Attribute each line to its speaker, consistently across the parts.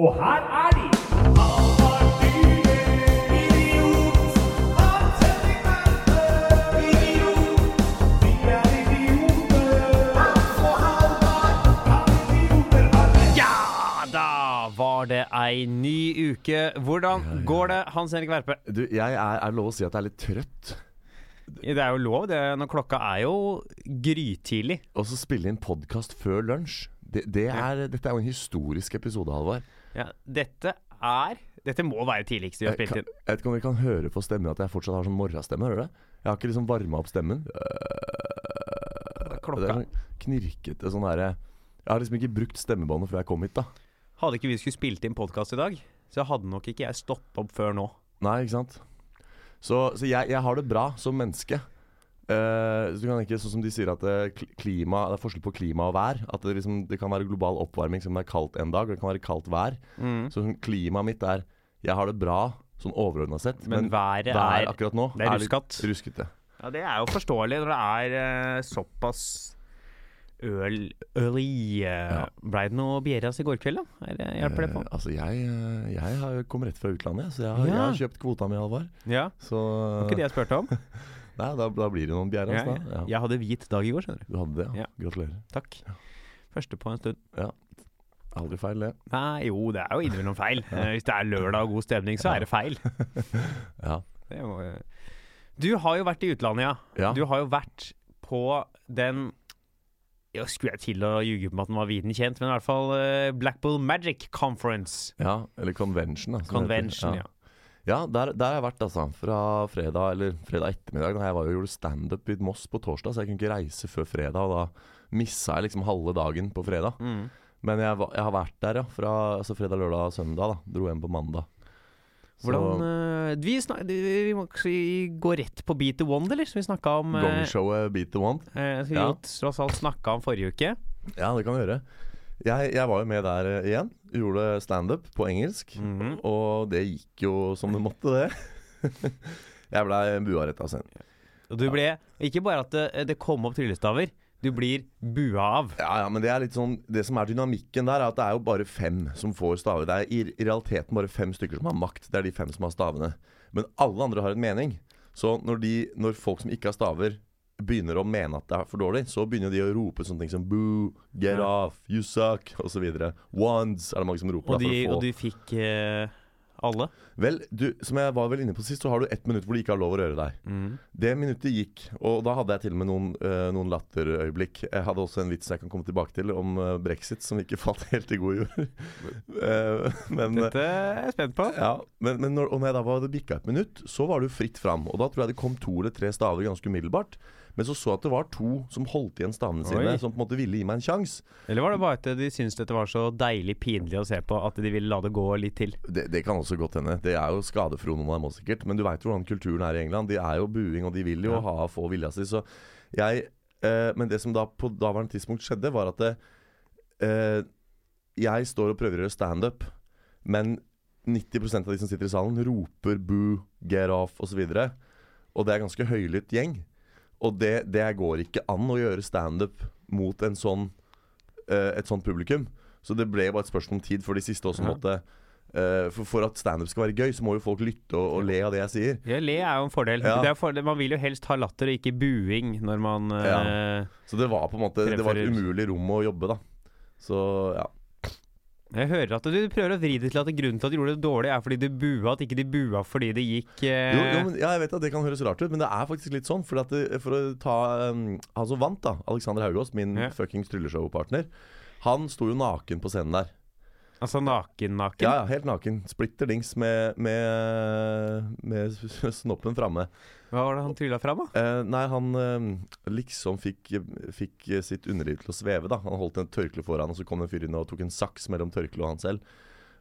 Speaker 1: Og her er de! Han var dyre, idiot. Han setter kampen, idiot. Vi er idioter. Altså, han var Han idioter, alle.
Speaker 2: Ja, da var det ei ny uke. Hvordan går det, Hans Henrik Verpe?
Speaker 3: Du, jeg er, er det lov å si at jeg er litt trøtt?
Speaker 2: Det er jo lov, det, når klokka er jo grytidlig.
Speaker 3: Og så spille inn podkast før lunsj. Det, det er, Dette er jo en historisk episode, Halvard.
Speaker 2: Ja, dette er Dette må være tidligst vi har
Speaker 3: Jeg,
Speaker 2: spilt
Speaker 3: kan- jeg
Speaker 2: inn.
Speaker 3: vet ikke om dere kan høre på stemmen at jeg fortsatt har sånn morgenstemme. Hører du det? Jeg har ikke liksom varma opp stemmen. Det er
Speaker 2: Klokka
Speaker 3: sånn knirkete sånn derre Jeg har liksom ikke brukt stemmebåndet før jeg kom hit, da.
Speaker 2: Hadde ikke vi skulle spilt inn podkast i dag, så hadde nok ikke jeg stoppa opp før nå.
Speaker 3: Nei, ikke sant? Så, så jeg, jeg har det bra som menneske. Eh, så du kan ikke, sånn som de sier at eh, kl- klima, det er forskjell på klima og vær. At det, liksom, det kan være global oppvarming som det er kaldt en dag, og det kan være kaldt vær.
Speaker 2: Mm.
Speaker 3: Så sånn, klimaet mitt er Jeg har det bra sånn overordna sett,
Speaker 2: Men været
Speaker 3: vær
Speaker 2: er-
Speaker 3: akkurat nå
Speaker 2: det er
Speaker 3: litt
Speaker 2: ruskat.
Speaker 3: ruskete.
Speaker 2: Ja, Det er jo forståelig når det er eh, såpass øl øli. Ja. Blei det noe Bieras i går kveld, da? Er det- Hjelper det på?
Speaker 3: Eh, altså, jeg, eh, jeg har jo kommet rett fra utlandet, jeg, så jeg har, jeg
Speaker 2: Ja.
Speaker 3: har kjøpt kvota mi, Halvard.
Speaker 2: Ja,
Speaker 3: Så
Speaker 2: ikke det jeg spurte om.
Speaker 3: nei, da, da blir det noen bjerre.
Speaker 2: Jeg,
Speaker 3: Altså, da. ja.
Speaker 2: jeg hadde hvit dag i går, skjønner du.
Speaker 3: Du hadde det, ja.
Speaker 2: Ja.
Speaker 3: Gratulerer.
Speaker 2: Takk. Første på en stund.
Speaker 3: Aldri feil, det.
Speaker 2: Nei, jo, det er jo innimellom feil. Eh, Hvis det er lørdag og god stemning, så er det feil.
Speaker 3: Ja.
Speaker 2: Det må jo- eh, Du har jo vært i utlandet, ja.
Speaker 3: Ja.
Speaker 2: Du har jo vært på den ja, Skulle jeg til å ljuge på at den var viden kjent, men i hvert fall eh, Blackpool Magic Conference.
Speaker 3: Ja, eller convention. Da, som det heter.
Speaker 2: Convention, ja.
Speaker 3: Ja, der, der har jeg vært, altså. Fra fredag eller fredag ettermiddag. Da jeg var jo og gjorde standup i Moss på torsdag, så jeg kunne ikke reise før fredag. Og da missa jeg liksom halve dagen på fredag.
Speaker 2: Mm.
Speaker 3: Men jeg, var- jeg har vært der, ja. Fra altså fredag, lørdag og søndag. da Dro hjem på mandag. Så-
Speaker 2: Hvordan eh, vi, snak, vi må ikke si- gå rett på Beat the Wand, eller? Som vi snakka om eh,
Speaker 3: Gongshowet Beat the Want.
Speaker 2: eh, Som vi
Speaker 3: Ja.
Speaker 2: jo tross alt snakka om forrige uke.
Speaker 3: Ja, det kan vi gjøre. Jeg, jeg var jo med der eh, igjen. Gjorde standup på engelsk.
Speaker 2: Mhm.
Speaker 3: Og det gikk jo som det måtte, det. jeg blei bua rett av scenen.
Speaker 2: Og du ble Ikke bare at det, det kom opp tryllestaver, du blir bua av.
Speaker 3: Ja, ja, men det er litt sånn Det som er dynamikken der, er at det er jo bare fem som får staver. Det er i, i realiteten bare fem stykker som har makt. Det er de fem som har stavene. Men alle andre har en mening. Så når, de, når folk som ikke har staver, begynner å mene at det er for dårlig, så begynner de å rope sånne ting som boo, get off, you suck, osv. Wands er det mange som
Speaker 2: Og,
Speaker 3: roper. da,
Speaker 2: de,
Speaker 3: for å få.
Speaker 2: og du fikk eh, alle.
Speaker 3: Vel, du, som jeg var vel inne på sist, så har du ett minutt hvor de ikke har lov å røre deg.
Speaker 2: Mm.
Speaker 3: Det minuttet gikk, og da hadde jeg til og med noen, eh, noen latterøyeblikk. Jeg hadde også en vits jeg kan komme tilbake til, om eh, brexit, som ikke falt helt i god jord. Eh, men, eh,
Speaker 2: Dette er jeg spent på.
Speaker 3: ja, men, men når, om jeg da var bikka et minutt, så var det jo fritt fram. Og da tror jeg det kom to eller tre staver ganske umiddelbart. Men så så jeg at det var to som holdt igjen stavene
Speaker 2: Oi.
Speaker 3: sine, som på en måte ville gi meg en sjanse.
Speaker 2: Eller var det bare at de syntes dette var så deilig pinlig å se på at de ville la det gå litt til?
Speaker 3: Det, det kan også godt hende. Det er jo skadefro noen av dem også, sikkert. Men du veit hvordan kulturen er i England. De er jo buing, og de vil jo ha få vilja si. Så jeg eh, Men det som da på daværende tidspunkt skjedde, var at det, eh, jeg står og prøver å gjøre standup, men 90 av de som sitter i salen, roper 'boo', 'get off' osv. videre og det er ganske høylytt gjeng. Og det, det går ikke an å gjøre standup mot en sånn, eh, et sånt publikum. Så det ble bare et spørsmål om tid for de siste også
Speaker 2: Ja.
Speaker 3: måtte eh, for, for at standup skal være gøy, så må jo folk lytte og, og le av det jeg sier.
Speaker 2: Ja, le er jo en fordel.
Speaker 3: Ja.
Speaker 2: Det er jo fordel. Man vil jo helst ha latter og ikke buing når man eh,
Speaker 3: Så det var på en måte Det var et
Speaker 2: Preferer-
Speaker 3: umulig rom å jobbe, da. Så ja.
Speaker 2: Jeg hører at du prøver å vri det til at grunnen til at du gjorde det dårlig, er fordi du bua, at ikke de bua fordi det gikk eh,
Speaker 3: Jo, jo, men, ja, jeg vet at det kan høres rart ut, men det er faktisk litt sånn. For, at det, for å ta um, han som vant, da, Alexander Haugås, min
Speaker 2: Ja.
Speaker 3: fuckings trylleshowpartner, han sto jo naken på scenen der.
Speaker 2: Altså naken-naken.
Speaker 3: Ja, ja, helt naken. Splitter dings med, med, med snoppen framme.
Speaker 2: Hva var det han trylla fram, da?
Speaker 3: Eh, nei, han eh, liksom fikk, fikk sitt underliv til å sveve, da. Han holdt en tørkle foran, og så kom en fyr inn og tok en saks mellom tørkleet og han selv.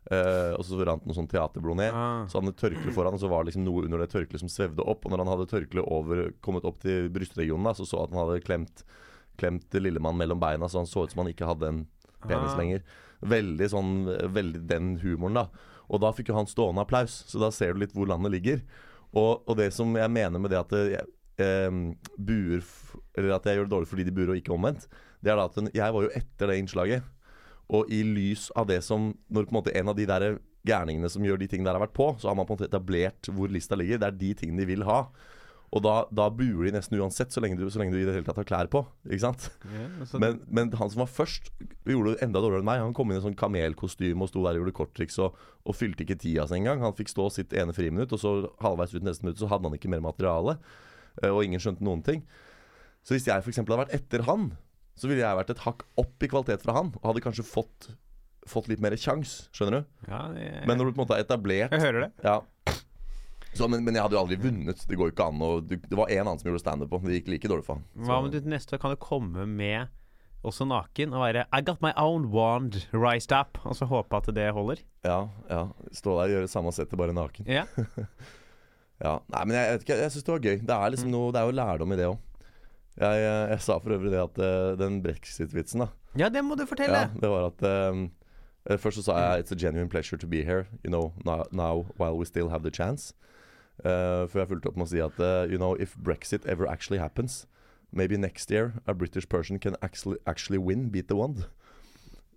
Speaker 3: Eh, og så rant noe sånn teaterblod ned.
Speaker 2: Ah.
Speaker 3: Så han hadde tørkle foran, og så var det liksom noe under det tørkleet som svevde opp. Og når han hadde tørkleet over- kommet opp til brystregionen, da, så så at han hadde klemt, klemt lillemann mellom beina, så han så ut som han ikke hadde en penis
Speaker 2: Ah.
Speaker 3: lenger. Veldig sånn, veldig den humoren, da. Og da fikk jo han stående applaus, så da ser du litt hvor landet ligger. Og, og det som jeg mener med det at jeg, em, buer f- Eller at jeg gjør det dårlig fordi de buer, og ikke omvendt, det er da at den, jeg var jo etter det innslaget. Og i lys av det som Når på en måte en av de der gærningene som gjør de tingene der har vært på, så har man på en måte etablert hvor lista ligger. Det er de tingene de vil ha. Og da, da buer de nesten uansett, så lenge du, så lenge du i det hele tatt har klær på. Ikke sant?
Speaker 2: så,
Speaker 3: Men, men han som var først, gjorde det enda dårligere enn meg. Han kom inn i sånn kamelkostyme og sto der og gjorde korttriks og, og fylte ikke tida si engang. Han fikk stå sitt ene friminutt, og så halvveis ut neste minutt så hadde han ikke mer materiale. eh, Og ingen skjønte noen ting. Så hvis jeg f.eks. hadde vært etter han, så ville jeg vært et hakk opp i kvalitet fra han. Og hadde kanskje fått, fått litt mer kjangs, skjønner du.
Speaker 2: ja, jeg,
Speaker 3: Men når du på en måte har etablert
Speaker 2: jeg hører det.
Speaker 3: ja. så, men, men jeg hadde jo aldri vunnet. Det går jo ikke an å du- Det var én annen som gjorde standup på. Det gikk like dårlig for han. Så-
Speaker 2: Hva om du til neste år kan du komme med også naken og være I got my own wand, rised up, og så håpe at det holder?
Speaker 3: Ja, ja. Stå der og gjøre samme settet, bare naken.
Speaker 2: Ja.
Speaker 3: Ja, Nei, men jeg, jeg, vet ikke, jeg syns det var gøy. Det er,
Speaker 2: Mm.
Speaker 3: liksom noe, det er jo lærdom i det òg. Jeg, jeg, jeg sa for øvrig det at eh, den brexit-vitsen, da.
Speaker 2: ja, det må du
Speaker 3: Ja,
Speaker 2: fortelle!
Speaker 3: det var at eh, eh, Først så sa jeg 'It's a genuine pleasure to be here, you know, now, now while we still have the chance'. Eh, før jeg fulgte opp med å si at eh, 'You know, if Brexit ever actually happens, maybe next year a British person can actually, actually win, beat the wand'.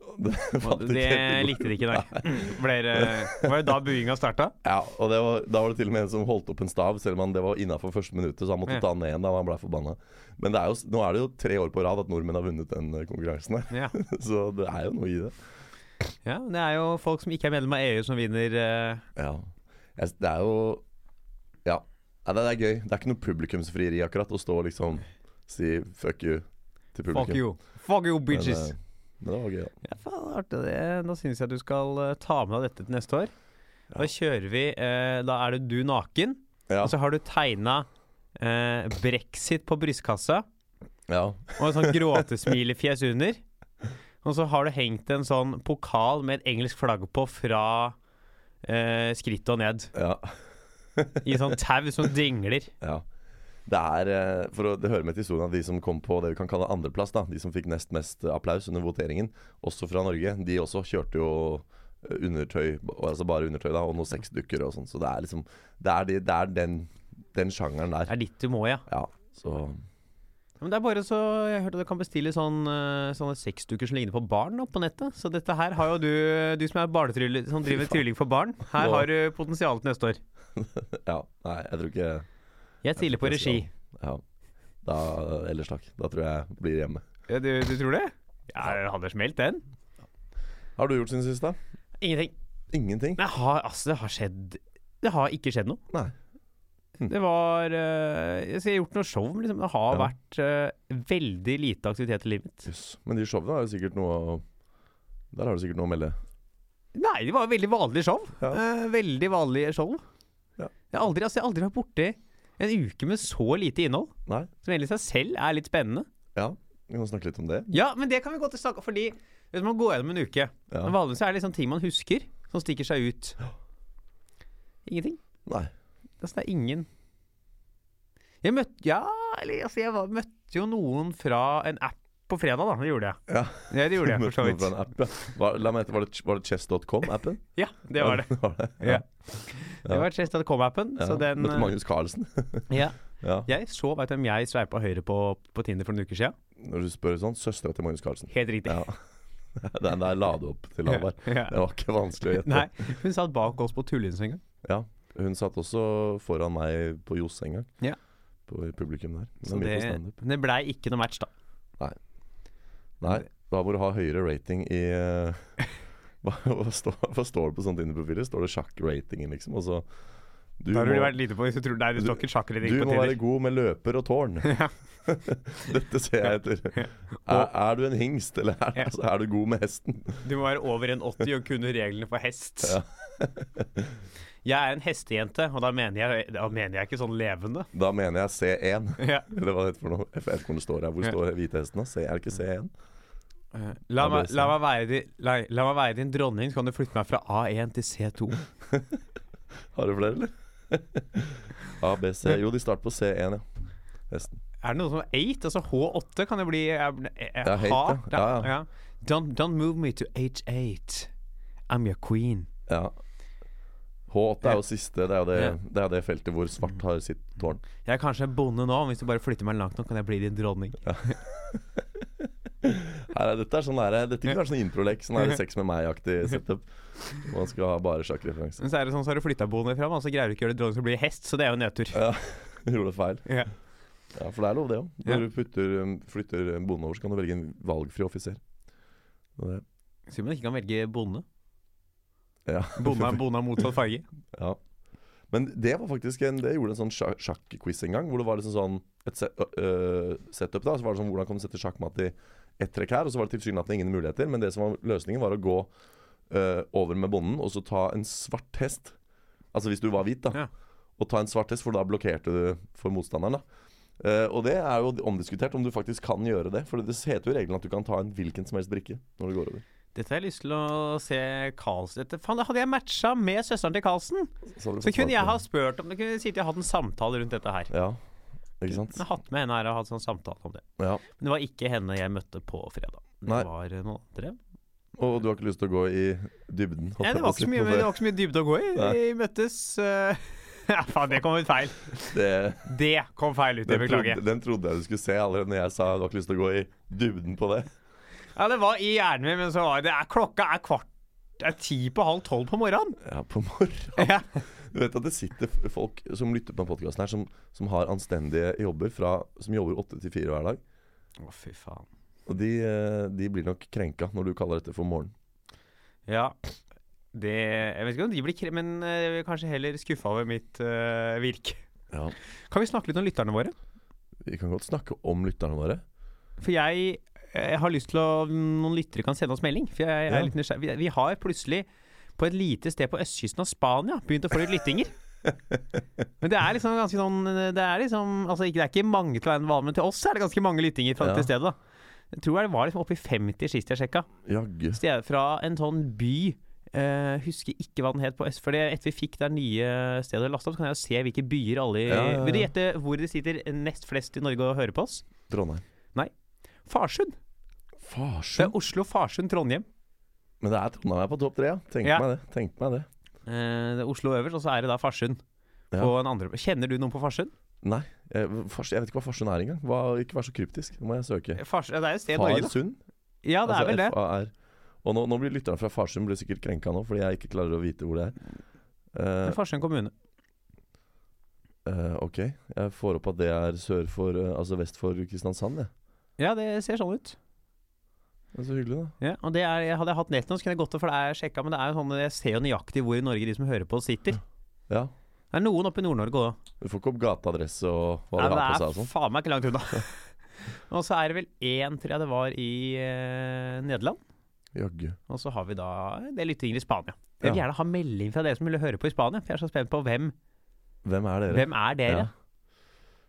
Speaker 3: Det fant
Speaker 2: Og
Speaker 3: ikke
Speaker 2: Det
Speaker 3: helt-
Speaker 2: likte de ikke, nei. Ble det det var jo da buinga starta.
Speaker 3: Ja, og det var, da var det til og med en som holdt opp en stav, selv om han, det var innafor første minuttet, så han måtte
Speaker 2: Ja.
Speaker 3: ta den ned igjen da og han blei forbanna. Men det er jo, s- nå er det jo tre år på rad at nordmenn har vunnet den eh, konkurransen her,
Speaker 2: Ja.
Speaker 3: så det er jo noe i det.
Speaker 2: ja, men det er jo folk som ikke er medlem av EU, som vinner eh,
Speaker 3: Ja. Jeg, s- det er jo Ja. Nei, det, det er gøy. Det er ikke noe publikumsfrieri akkurat å stå og liksom si fuck you til publikum.
Speaker 2: Fuck you. Fuck you,
Speaker 3: Men, eh,
Speaker 2: bitches.
Speaker 3: Men det var gøy, da.
Speaker 2: Ja, faen, artig det. Nå syns jeg du skal eh, ta med deg dette til neste år. Da kjører vi eh, Da er det du naken,
Speaker 3: Ja.
Speaker 2: og så har du tegna eh, brexit på brystkassa
Speaker 3: ja.
Speaker 2: og en sånn gråtesmilefjes under. Og så har du hengt en sånn pokal med et engelsk flagg på fra eh, skrittet og ned.
Speaker 3: ja.
Speaker 2: I sånn tau som dingler.
Speaker 3: Ja. Det er, eh, for å, det hører med til historien at de som kom på det vi kan kalle andreplass, da, de som fikk nest mest applaus under voteringen, også fra Norge, de også kjørte jo eh, undertøy, b- altså bare undertøy da, og noen sexdukker og sånn. Så det er liksom Det er, de, det er den, den sjangeren
Speaker 2: Det
Speaker 3: der.
Speaker 2: er ditt du må, ja.
Speaker 3: Ja, så
Speaker 2: Men det er bare så Jeg har hørt at du kan bestille sånn, eh, sånne sexduker som ligner på barn nå på nettet. Så dette her har jo du, du som er barnetrylling, som driver trylling for barn. Her
Speaker 3: Nå-
Speaker 2: har du potensial til neste år.
Speaker 3: Ja. Nei, jeg tror ikke
Speaker 2: Jeg tviler på regi.
Speaker 3: Ja. Da, ellers takk. Da tror jeg blir hjemme.
Speaker 2: Ja, Du, du tror det? Ja, det hadde smelt, den.
Speaker 3: Har du gjort siden sist, da?
Speaker 2: Ingenting.
Speaker 3: Ingenting?
Speaker 2: Men jeg har, altså, det har skjedd Det har ikke skjedd noe.
Speaker 3: Nei.
Speaker 2: Det var eh, Jeg har gjort noe show, men liksom. Det har
Speaker 3: Ja.
Speaker 2: vært eh, veldig lite aktivitet i livet mitt.
Speaker 3: Jøss. Men de showene har jo sikkert noe å Der har du sikkert noe å melde.
Speaker 2: Nei, det var veldig vanlige show.
Speaker 3: Ja.
Speaker 2: Eh, veldig vanlige show.
Speaker 3: Ja.
Speaker 2: Jeg, har aldri, altså, jeg har aldri vært borti en uke med så lite innhold,
Speaker 3: Nei?
Speaker 2: som egentlig i seg selv er litt spennende.
Speaker 3: Ja, vi kan snakke litt om det.
Speaker 2: Ja, men det kan vi godt snakke om, fordi hvis man går gjennom en uke
Speaker 3: Ja.
Speaker 2: men Vanligvis er det liksom ting man husker, som stikker seg ut. Ingenting.
Speaker 3: Nei.
Speaker 2: Altså, det er ingen Jeg møtte Ja, eller altså, jeg var, møtte jo noen fra en app på fredag, da. Det gjorde jeg.
Speaker 3: Ja.
Speaker 2: Ja, det gjorde jeg, for så
Speaker 3: Møtte noen
Speaker 2: vidt.
Speaker 3: fra en app, ja. Var, la meg, hete, var det, var det chess.com-appen?
Speaker 2: Ja, det var det.
Speaker 3: var det?
Speaker 2: Ja. Det var Chess.com-appen,
Speaker 3: Ja.
Speaker 2: så den eh,
Speaker 3: Møtte Magnus Carlsen.
Speaker 2: ja.
Speaker 3: ja.
Speaker 2: Jeg så, veit du hvem jeg sveipa høyre på på Tinder for noen uker siden?
Speaker 3: Når du spør sånn, søstera til Magnus Carlsen.
Speaker 2: Helt riktig.
Speaker 3: Ja. Den der la du opp til Halvard.
Speaker 2: Ja.
Speaker 3: Det var ikke vanskelig å gjette.
Speaker 2: Nei, hun satt bak oss på Tullins en gang.
Speaker 3: Ja. Hun satt også foran meg på Johs en gang.
Speaker 2: Ja.
Speaker 3: På i publikum der. Hun
Speaker 2: Så
Speaker 3: er midt
Speaker 2: det,
Speaker 3: på standup.
Speaker 2: det blei ikke noe match, da.
Speaker 3: Nei, da må du ha høyere rating i eh, hva, hva, står, hva står det på sånne Tinder-profiler? Står det sjakk-ratingen, liksom? Og så du
Speaker 2: Da har du
Speaker 3: må-
Speaker 2: vært lite på hvis du tror Nei, du står ikke sjakkredning
Speaker 3: Du
Speaker 2: på
Speaker 3: må være
Speaker 2: Tinder.
Speaker 3: god med løper og tårn. Dette ser jeg etter. Er, er du en hingst, eller er,
Speaker 2: Ja.
Speaker 3: altså, er du god med hesten?
Speaker 2: Du må være over 1,80 og kunne reglene for hest.
Speaker 3: Ja.
Speaker 2: Jeg er en hestejente, og da mener jeg, da mener jeg ikke sånn levende.
Speaker 3: Da mener jeg C1.
Speaker 2: Ja.
Speaker 3: Eller hva det heter for noe. Jeg vet ikke hvor det står her. Hvor
Speaker 2: Ja.
Speaker 3: står hvitehesten? da? C- Er det ikke C1?
Speaker 2: La,
Speaker 3: Ja,
Speaker 2: meg, Eh,
Speaker 3: det er
Speaker 2: la, meg være din, la, la meg være din dronning, så kan du flytte meg fra A1 til C2.
Speaker 3: Har du flere, eller? A, B, C. Jo, de starter på C1, ja. Hesten.
Speaker 2: Er det noe som er 8? Altså H8 kan jo bli er, er, er,
Speaker 3: Ja, hate, ja.
Speaker 2: hard, da.
Speaker 3: Ja, ja.
Speaker 2: ja. Don't, don't move me to H8. I'm your queen.
Speaker 3: Ja. H8 er jo siste. Det er jo det,
Speaker 2: Ja.
Speaker 3: det, er jo det feltet hvor svart har sitt tårn.
Speaker 2: Jeg er kanskje en bonde nå, men hvis du bare flytter meg langt nok, kan jeg bli din dronning.
Speaker 3: Her er, dette er sånn der, dette kunne vært sånn improlek. Sånn er det sex med meg-aktig setup. Man skal ha bare sjakkreferanser.
Speaker 2: Men så er det sånn, så har du flytta boende fram, og så greier du ikke å gjøre det dronning til å bli hest, så det er jo nedtur.
Speaker 3: Ja, gjorde det feil.
Speaker 2: Ja.
Speaker 3: Ja, For det er lov, det òg.
Speaker 2: Ja.
Speaker 3: Når du putter, um, flytter en bonde over, så kan du velge en valgfri offiser. Det er det.
Speaker 2: Sier man ikke kan velge bonde.
Speaker 3: Ja.
Speaker 2: Bonde er bonde av motsatt farge.
Speaker 3: Ja. Men det var faktisk en, det gjorde en sånn sja- sjakk-quiz en gang, hvor det var liksom sånn et se ø- ø, setup. da, så var det sånn, Hvordan kan du sette sjakkmatt i ett trekk her? Og så var det tilsynelatende ingen muligheter, men det som var løsningen, var å gå ø, over med bonden og så ta en svart hest. Altså hvis du var hvit,
Speaker 2: Ja.
Speaker 3: da. Og ta en svart hest, for da blokkerte du for motstanderen. da. Eh, og det er jo omdiskutert om du faktisk kan gjøre det. For det heter jo i reglene at du kan ta en hvilken som helst brikke når du går over.
Speaker 2: Dette har jeg lyst til å se Karlsen Dette, faen, da hadde jeg matcha med søsteren til Karlsen!
Speaker 3: Så, har du
Speaker 2: Så
Speaker 3: fått
Speaker 2: kunne jeg ha
Speaker 3: svart-
Speaker 2: spurt om det, kunne jeg si at jeg hadde en samtale rundt dette her.
Speaker 3: Ja, ikke sant?
Speaker 2: Jeg har hatt med henne her og hatt sånn samtale om det.
Speaker 3: Ja.
Speaker 2: Men det var ikke henne jeg møtte på fredag. Det
Speaker 3: Nei.
Speaker 2: var noen andre.
Speaker 3: Og du har ikke lyst til å gå i dybden?
Speaker 2: Nei,
Speaker 3: holdt jeg
Speaker 2: det
Speaker 3: på å
Speaker 2: var ikke
Speaker 3: si,
Speaker 2: så mye,
Speaker 3: på
Speaker 2: det var ikke så mye dybde å gå i.
Speaker 3: Nei.
Speaker 2: Vi møttes eh, Ja, faen, det kom ut feil.
Speaker 3: det,
Speaker 2: Det kom feil ut, jeg
Speaker 3: den, trodde,
Speaker 2: beklager.
Speaker 3: den trodde jeg du skulle se allerede når jeg sa du har ikke lyst til å gå i dybden på det.
Speaker 2: Ja, det var i hjernen min, men så var det er, Klokka er kvart det er ti på halv tolv på morgenen.
Speaker 3: Ja, på morgenen.
Speaker 2: Ja.
Speaker 3: Du vet at det sitter f- folk som lytter på den podkasten her, som, som har anstendige jobber, fra, som jobber åtte til fire hver dag.
Speaker 2: Å, fy faen.
Speaker 3: Og de, eh, de blir nok krenka når du kaller dette for morgen.
Speaker 2: Ja. Det Jeg vet ikke om de blir kre... Men eh, jeg vil kanskje heller skuffa over mitt eh, virke.
Speaker 3: Ja.
Speaker 2: Kan vi snakke litt om lytterne våre?
Speaker 3: Vi kan godt snakke om lytterne våre.
Speaker 2: For jeg, jeg har lyst til å Noen lyttere kan sende oss melding. For jeg,
Speaker 3: Ja.
Speaker 2: er litt nysgjerrig. Vi, vi har plutselig, på et lite sted på østkysten av Spania, begynt å få litt lyttinger. Men det er liksom ganske sånn Det er liksom altså ikke, Det er ikke mange til verden vanlig, men til oss er det ganske mange lyttinger fra
Speaker 3: Ja.
Speaker 2: dette stedet. da Jeg tror det var liksom oppi 50 sist jeg sjekka.
Speaker 3: Jaggu.
Speaker 2: Stedet fra en sånn by eh, husker ikke hva den het på øst. For det- etter vi fikk det nye stedet lasta opp, så kan jeg jo se hvilke byer alle i
Speaker 3: Ja, ja, ja.
Speaker 2: Vil du gjette hvor det sitter nest flest i Norge og hører på oss?
Speaker 3: Trondheim.
Speaker 2: Farsund. Det
Speaker 3: Farsund.
Speaker 2: er Oslo, Farsund, Trondheim.
Speaker 3: Men det er Trondheim er på topp tre, ja. Tenk
Speaker 2: Ja.
Speaker 3: meg det. Tenk meg det.
Speaker 2: Eh, det er Oslo øverst, og så er det da Farsund.
Speaker 3: Ja.
Speaker 2: På en andre. Kjenner du noen på Farsund?
Speaker 3: Nei, jeg, fars, jeg vet ikke hva Farsund er engang. Hva- Ikke vær så kryptisk. Nå må jeg søke.
Speaker 2: Farsund det er jo et sted i Norge, da.
Speaker 3: Farsund?
Speaker 2: Ja,
Speaker 3: Altså,
Speaker 2: det er vel det.
Speaker 3: FAR. Og nå, nå blir lytterne fra Farsund blir sikkert krenka nå, fordi jeg ikke klarer å vite hvor det er.
Speaker 2: Det er
Speaker 3: Eh,
Speaker 2: Farsund kommune.
Speaker 3: eh, ok, jeg får opp at det er sør for eh, Altså vest for Kristiansand, jeg.
Speaker 2: Ja, det ser sånn ut.
Speaker 3: Det er så hyggelig, da.
Speaker 2: Ja, og det er, hadde jeg hatt nett nå, så kunne jeg gått og for det er sjekka, men det er jo sånn, jeg ser jo nøyaktig hvor i Norge de som hører på, sitter.
Speaker 3: Ja.
Speaker 2: Det er noen oppe i Nord-Norge òg.
Speaker 3: Du får ikke opp gateadresse og hva
Speaker 2: Nei,
Speaker 3: de
Speaker 2: det
Speaker 3: har på
Speaker 2: er
Speaker 3: seg og sånn.
Speaker 2: faen meg ikke langt unna. og så er det vel én, tror jeg det var, i eh, Nederland.
Speaker 3: Jaggu.
Speaker 2: Og så har vi da en del lyttinger i Spania. Jeg vil
Speaker 3: Ja.
Speaker 2: gjerne ha melding fra dere som vil høre på i Spania, for jeg er så spent på hvem,
Speaker 3: Hvem er dere?
Speaker 2: hvem er dere?
Speaker 3: Ja.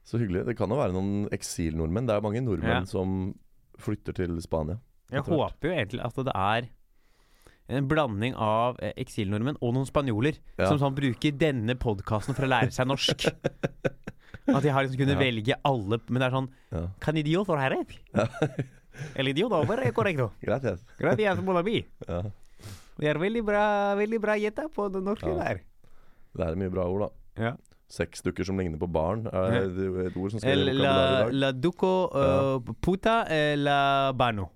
Speaker 3: Så hyggelig. Det kan jo være noen eksilnordmenn. Det er jo mange nordmenn
Speaker 2: Ja.
Speaker 3: som flytter til Spania.
Speaker 2: Jeg
Speaker 3: etter hvert.
Speaker 2: håper jo egentlig at det er en blanding av eh, eksilnordmenn og noen spanjoler
Speaker 3: Ja.
Speaker 2: som sånn bruker denne podkasten for å lære seg norsk. At de har liksom kunnet
Speaker 3: Ja.
Speaker 2: velge alle Men det er sånn
Speaker 3: Ja.
Speaker 2: Kan idiot for herre? El idiot over er korrekto.
Speaker 3: Greit, jeg.
Speaker 2: Gracias, mon ami.
Speaker 3: Ja.
Speaker 2: Det er veldig bra veldig bra gjetta på det norske
Speaker 3: Ja.
Speaker 2: der.
Speaker 3: Det er mye bra ord, da.
Speaker 2: Ja.
Speaker 3: Seks stykker som ligner på barn, er
Speaker 2: Ja.
Speaker 3: det et ord som skal
Speaker 2: Eh,
Speaker 3: i vokabularet i
Speaker 2: La,
Speaker 3: dag.
Speaker 2: la duco eh, puta eh, la bano.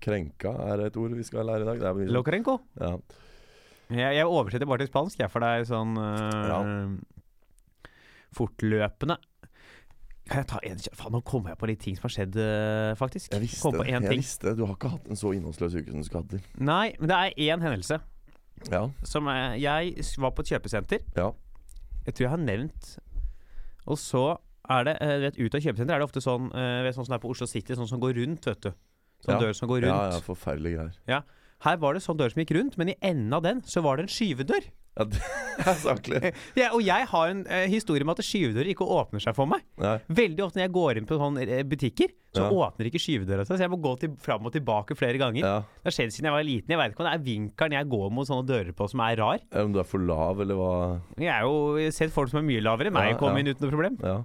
Speaker 3: Krenka er et ord vi skal lære i dag. Det er mye sånn.
Speaker 2: Locrenco.
Speaker 3: ja.
Speaker 2: Jeg, jeg oversetter bare til spansk, jeg, for det er sånn øh, fortløpende. Kan jeg ta en kjapp Faen, nå kom jeg på litt ting som har skjedd, øh, faktisk.
Speaker 3: Jeg visste
Speaker 2: kom på
Speaker 3: det.
Speaker 2: én
Speaker 3: Jeg
Speaker 2: ting.
Speaker 3: visste det. Du har ikke hatt en så innholdsløs uke som du skulle hatt til.
Speaker 2: Nei, men det er én hendelse.
Speaker 3: Ja.
Speaker 2: Som øh, jeg s- var på et kjøpesenter.
Speaker 3: ja.
Speaker 2: Jeg tror jeg har nevnt. Og så er det øh, vet, Ut av kjøpesenter er det ofte sånn øh, vet, Sånn som det er på Oslo City, sånn som går rundt, vet du. Sånn
Speaker 3: Ja.
Speaker 2: dør som går
Speaker 3: ja,
Speaker 2: rundt.
Speaker 3: ja, forferdelige greier.
Speaker 2: Her var det sånn dør som gikk rundt, men i enden av den så var det en skyvedør.
Speaker 3: Ja, det er saklig.
Speaker 2: Ja, og jeg har en øh, historie med at skyvedører ikke åpner seg for meg.
Speaker 3: Nei.
Speaker 2: Veldig ofte når jeg går inn på sånne eh, butikker, så
Speaker 3: Ja.
Speaker 2: åpner ikke skyvedøra seg. Så jeg må gå til, fram og tilbake flere ganger.
Speaker 3: Ja.
Speaker 2: Det har skjedd siden jeg var liten. Jeg vet ikke om det er vinkelen jeg går mot sånne dører på som er rar.
Speaker 3: Ja, Om du er for lav, eller hva
Speaker 2: Jeg har jo jeg har sett folk som er mye lavere enn meg
Speaker 3: Ja,
Speaker 2: komme
Speaker 3: ja.
Speaker 2: inn uten noe problem.
Speaker 3: Ja.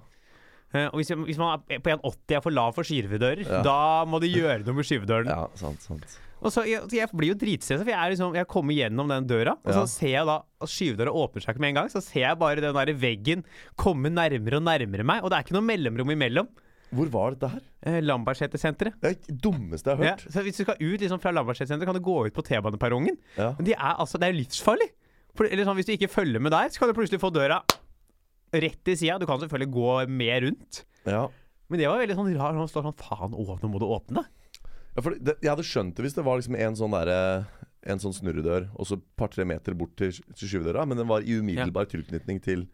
Speaker 2: Eh, Og hvis, jeg- hvis man er på 1,80 er for lav for skyvedører,
Speaker 3: Ja.
Speaker 2: da må de gjøre noe med skyvedøren.
Speaker 3: ja, sant, sant.
Speaker 2: Og så, jeg, så jeg blir jo dritstressa, for jeg, er liksom, jeg kommer gjennom den døra, og så
Speaker 3: Ja.
Speaker 2: ser jeg da at skyvedøra åpner seg ikke med en gang. Så ser jeg bare den der veggen komme nærmere og nærmere meg, og det er ikke noe mellomrom imellom.
Speaker 3: Hvor var dette her?
Speaker 2: Eh, Lambertseter-senteret.
Speaker 3: Det er det dummeste jeg har
Speaker 2: Ja,
Speaker 3: hørt.
Speaker 2: så hvis du skal ut liksom, fra Lambertseter-senteret, kan du gå ut på T-baneperrongen.
Speaker 3: Ja.
Speaker 2: Men de er, altså, det er jo livsfarlig. For, eller sånn, hvis du ikke følger med der, så kan du plutselig få døra rett i sida. Du kan selvfølgelig gå mer rundt.
Speaker 3: Ja.
Speaker 2: Men det var veldig sånn rar Han står sånn Faen, å, nå må du åpne.
Speaker 3: Ja, for det, jeg hadde skjønt det hvis det var liksom en sånn derre en sånn snurredør, og så et par-tre meter bort til, til skyvedøra. Men den var i umiddelbar tilknytning til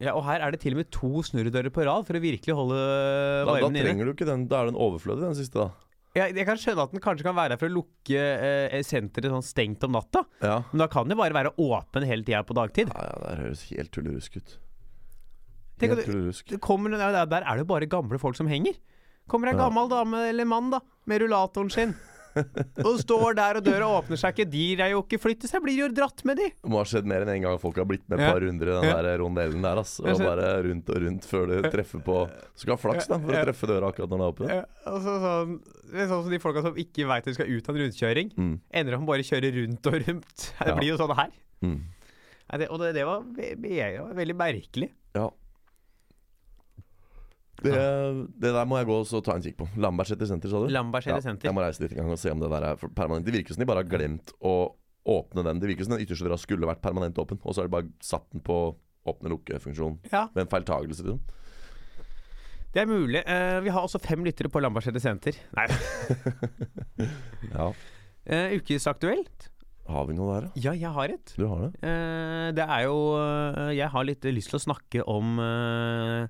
Speaker 2: Ja, Og her er det til og med to snurredører på rad for å virkelig holde
Speaker 3: Da, da
Speaker 2: varmen inne.
Speaker 3: trenger du ikke den. Da er den overflødig, den siste, da.
Speaker 2: Jeg, jeg kan skjønne at den kanskje kan være her for å lukke eh, senteret sånn stengt om natta.
Speaker 3: Ja.
Speaker 2: Men da kan det bare være åpen hele tida på dagtid.
Speaker 3: Ja, ja, det her høres helt tullerusk ut.
Speaker 2: Tenk
Speaker 3: Helt
Speaker 2: at du,
Speaker 3: tullerusk.
Speaker 2: det kommer, noen- ja, der, der er det jo bare gamle folk som henger. Kommer ei
Speaker 3: Ja.
Speaker 2: gammel dame eller mann da med rullatoren sin og står der, og døra åpner seg ikke. De er jo ikke flyttet seg, blir jo dratt med, de.
Speaker 3: Det må ha skjedd mer enn én en gang folk har blitt med et
Speaker 2: Ja.
Speaker 3: par runder i den
Speaker 2: Ja.
Speaker 3: der rondellen der. ass Og
Speaker 2: Jeg ser-
Speaker 3: bare rundt og rundt før du treffer på Du skal ha flaks da for
Speaker 2: Ja.
Speaker 3: å treffe døra akkurat når den er åpen.
Speaker 2: Ja, altså, sånn, det er sånn som de folka som ikke veit de skal ut av en rundkjøring,
Speaker 3: Mm.
Speaker 2: ender opp med å bare kjøre rundt og rundt. Det
Speaker 3: Ja.
Speaker 2: blir jo sånn her.
Speaker 3: Mm.
Speaker 2: Nei, det, og det, det var, ve- ve- det var veldig merkelig.
Speaker 3: Ja. Det, det der må jeg gå og så ta en kikk på. Lambertseter senter, sa du?
Speaker 2: Lambertseter
Speaker 3: Ja,
Speaker 2: senter.
Speaker 3: jeg må reise dit en gang og se om det der er for- permanent. Det virker som de bare har glemt å åpne den. Det virker som den ytterste døra skulle vært permanent åpen, og så har de bare satt den på åpne-lukke-funksjon.
Speaker 2: Ja,
Speaker 3: Ved en feiltagelse, liksom.
Speaker 2: det er mulig. Eh, vi har også fem lyttere på Lambertseter senter. Nei.
Speaker 3: Ja.
Speaker 2: Eh, ukesaktuelt?
Speaker 3: Har vi noe der, da?
Speaker 2: Ja, jeg har et.
Speaker 3: Du har det?
Speaker 2: Eh, det er jo eh, Jeg har litt lyst til å snakke om eh,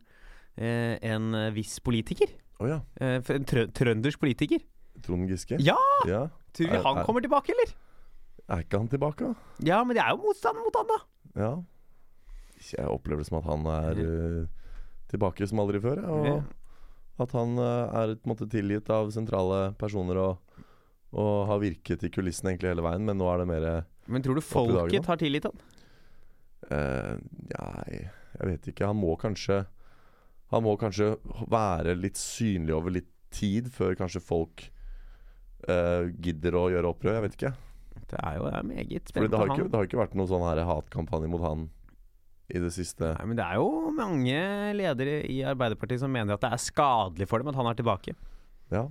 Speaker 2: eh, en viss politiker.
Speaker 3: Å ja.
Speaker 2: Eh, for en trø trøndersk politiker.
Speaker 3: Trond Giske?
Speaker 2: Ja!
Speaker 3: ja.
Speaker 2: Tror vi
Speaker 3: Er-
Speaker 2: han
Speaker 3: er-
Speaker 2: kommer tilbake, eller?
Speaker 3: Er ikke han tilbake, da?
Speaker 2: Ja, men det er jo motstand mot han, da.
Speaker 3: Ja. Ikke Jeg opplever det som at han er eh, tilbake som aldri før. Ja, og
Speaker 2: Ja.
Speaker 3: at han eh, er på en måte tilgitt av sentrale personer og, og har virket i kulissene egentlig hele veien, men nå er det mer
Speaker 2: Men tror du
Speaker 3: i dagen, da.
Speaker 2: folket har tilgitt han?
Speaker 3: eh, Nei, jeg vet ikke. Han må kanskje Han må kanskje være litt synlig over litt tid før kanskje folk eh, gidder å gjøre opprør. Jeg vet ikke.
Speaker 2: Det er jo det er meget
Speaker 3: Fordi
Speaker 2: spennende.
Speaker 3: det har ikke,
Speaker 2: han.
Speaker 3: det har ikke vært noen sånn her hatkampanje mot han i det siste.
Speaker 2: Nei, men det er jo mange ledere i Arbeiderpartiet som mener at det er skadelig for dem at han er tilbake.
Speaker 3: Ja.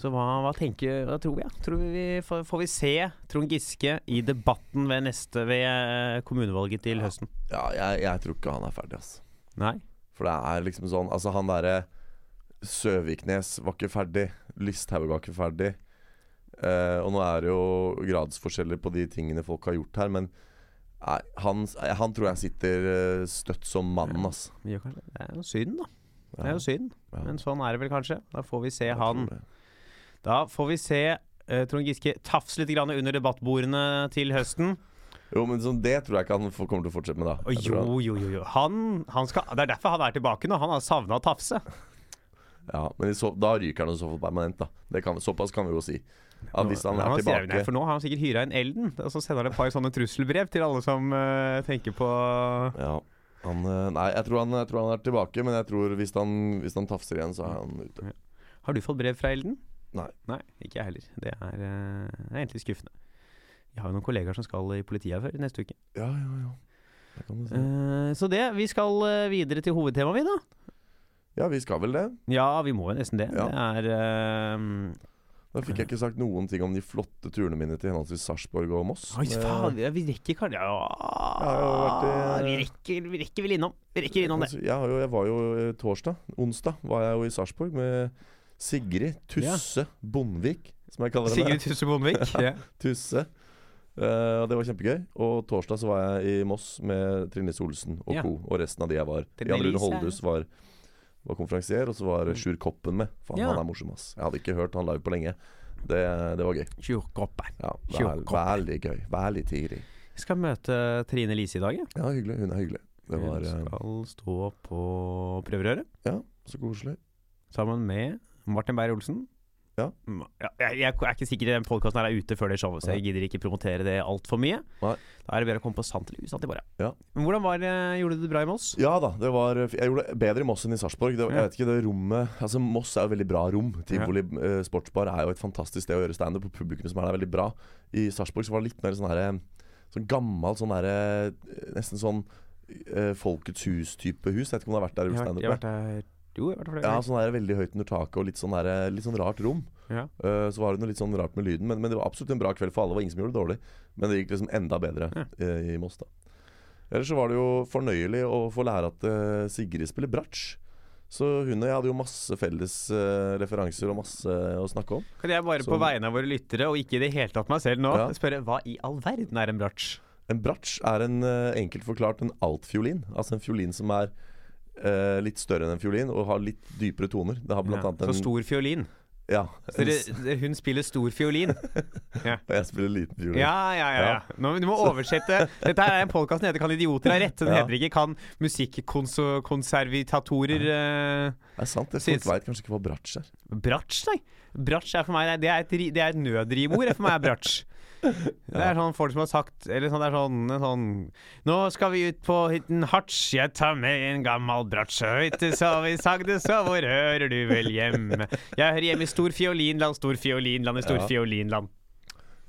Speaker 2: Så hva, hva tenker Hva tror vi? Ja? Tror vi vi får, får vi se Trond Giske i debatten ved neste ved eh, kommunevalget til høsten?
Speaker 3: Ja, jeg, jeg tror ikke han er ferdig, ass.
Speaker 2: Nei?
Speaker 3: For det er liksom sånn Altså, han derre Søviknes var ikke ferdig. Listhaug var ikke ferdig. Eh, og nå er det jo gradsforskjeller på de tingene folk har gjort her, men nei, han, han tror jeg sitter eh, støtt som mannen, ass.
Speaker 2: Vi gjør kanskje Det er jo synd, da. Det er jo synd.
Speaker 3: Ja.
Speaker 2: Men sånn er det vel kanskje. Da får vi se
Speaker 3: Jeg
Speaker 2: han
Speaker 3: tror det.
Speaker 2: Da får vi se eh, Trond Giske tafse litt grann under debattbordene til høsten.
Speaker 3: Jo, men sånn, det tror jeg ikke han får- kommer til å fortsette med, da.
Speaker 2: Og
Speaker 3: Jeg tror
Speaker 2: jo, jo, jo, jo. Han, han skal, det er derfor han er tilbake nå. Han har savna å tafse.
Speaker 3: han- ja, men i så, da ryker han i så fall permanent, da. Det kan, såpass kan vi jo si. At hvis han
Speaker 2: Nå-
Speaker 3: er
Speaker 2: nå sier jeg jo
Speaker 3: tilbake
Speaker 2: det, For nå har han sikkert hyra inn Elden, og så sender han et par sånne trusselbrev til alle som eh, tenker på
Speaker 3: Ja. Han, eh, nei, jeg tror han, jeg tror han er tilbake, men jeg tror hvis han, hvis han tafser igjen, så er han ute.
Speaker 2: Har du fått brev fra Elden?
Speaker 3: Nei.
Speaker 2: Nei, ikke jeg heller. Det er, eh, det er egentlig skuffende. Jeg har jo noen kollegaer som skal i politiet før neste uke.
Speaker 3: Ja, ja, ja. Det kan du si.
Speaker 2: Eh, så det. Vi skal eh, videre til hovedtemaet, vi, da.
Speaker 3: Ja, vi skal vel det.
Speaker 2: Ja, vi må jo nesten det.
Speaker 3: Ja.
Speaker 2: Det er eh,
Speaker 3: Da fikk jeg ikke sagt noen ting om de flotte turene mine til henholdsvis Sarpsborg og Moss.
Speaker 2: Oi,
Speaker 3: Men-
Speaker 2: faen, vi, vi rekker kanskje ja,
Speaker 3: har jo vært i-
Speaker 2: vi, rekker, vi rekker vel innom. Vi rekker innom det.
Speaker 3: Altså, Jeg, har jo, jeg var jo eh, torsdag, onsdag, var jeg jo i Sarpsborg med Sigrid Tusse Bondvik, som jeg kaller henne.
Speaker 2: Sigrid Tusse Bondevik. ja.
Speaker 3: Tusse. Eh, og det var kjempegøy. Og torsdag så var jeg i Moss med Trine Lise Olsen og
Speaker 2: Ja.
Speaker 3: co. Og resten av de jeg var.
Speaker 2: Trine
Speaker 3: Jan Rune
Speaker 2: Lise er-
Speaker 3: Holdhus var, var konferansier, og så var Sjur Koppen med. Faen,
Speaker 2: Ja.
Speaker 3: han er morsom, ass. Jeg hadde ikke hørt han live på lenge. Det, det var gøy.
Speaker 2: Tjukkoppen.
Speaker 3: Ja,
Speaker 2: Sjur
Speaker 3: vær,
Speaker 2: Koppen.
Speaker 3: veldig gøy. Veldig tidlig.
Speaker 2: Jeg skal møte Trine Lise i dag. jeg.
Speaker 3: Ja, hyggelig. Hun er hyggelig. Det var
Speaker 2: Hun
Speaker 3: eh,
Speaker 2: skal stå på prøverøret
Speaker 3: Ja, så koselig.
Speaker 2: sammen med Martin Beyer-Olsen. Mm,
Speaker 3: Ja.
Speaker 2: Ja, jeg, jeg er ikke sikker den podkasten er ute før det showet, så jeg gidder ikke promotere det altfor mye.
Speaker 3: Nei.
Speaker 2: Da er det bedre å komme på sant eller usant i morgen.
Speaker 3: Ja.
Speaker 2: Men hvordan var det? Gjorde du det bra i Moss?
Speaker 3: Ja da, det var Jeg gjorde det bedre i Moss enn i Sarpsborg. Det,
Speaker 2: Ja.
Speaker 3: jeg vet ikke, det rommet Altså Moss er jo veldig bra rom. Tivoli eh, sportsbar er jo et fantastisk sted å gjøre standup, og publikum som er der, er veldig bra. I Sarpsborg så var det litt mer sånn herre Sånn gammel, sånn herre Nesten sånn eh, Folkets hus-type hus. Jeg vet ikke om du har vært der og
Speaker 2: Jeg har,
Speaker 3: gjort standup?
Speaker 2: jeg har
Speaker 3: med.
Speaker 2: vært der Jo, jeg har vært der flere
Speaker 3: Ja,
Speaker 2: ganger.
Speaker 3: sånn der, veldig høyt under taket og litt sånn, der, litt sånn rart rom.
Speaker 2: Ja.
Speaker 3: Eh, så var det noe litt sånn rart med lyden, men, men det var absolutt en bra kveld for alle. Det var ingen som gjorde det dårlig, men det gikk liksom enda bedre eh, i Moss, da. Ellers så var det jo fornøyelig å få lære at eh, Sigrid spiller bratsj. Så hun og jeg hadde jo masse felles eh, referanser og masse å snakke om.
Speaker 2: Kan jeg bare på
Speaker 3: Så-
Speaker 2: vegne av våre lyttere, og ikke i det hele tatt meg selv nå,
Speaker 3: Ja.
Speaker 2: spørre hva i all verden er en bratsj?
Speaker 3: En bratsj er en, eh, enkelt forklart en altfiolin. Altså en fiolin som er eh, litt større enn en fiolin og har litt dypere toner. Det har blant
Speaker 2: Ja.
Speaker 3: annet
Speaker 2: Så
Speaker 3: en
Speaker 2: stor fiolin.
Speaker 3: Ja.
Speaker 2: Så det, det, hun spiller stor fiolin.
Speaker 3: Og jeg spiller liten fiolin.
Speaker 2: Ja, ja, ja. ja. Nå, du må oversette. Dette her er en podkast som heter 'Kan idioter ha rett'? så Den
Speaker 3: Ja.
Speaker 2: heter ikke 'Kan musikkonservitatorer eh,
Speaker 3: Det er sant. det.
Speaker 2: Syns-
Speaker 3: Folk veit kanskje ikke hva bratsj er.
Speaker 2: Bratsj, nei. Bratsj er for meg Det er et, ri- det er et nødrimord. For meg er bratsj. Det er sånn folk som har sagt Eller sånn, det er sånn, en sånn Nå skal vi ut på hytten Harts, jeg tar med en gammel bratsjehøyte, så vi sagde så, hvor hører du vel hjemme? Jeg hører hjemme i Storfiolinland, Storfiolinland, i Storfiolinland.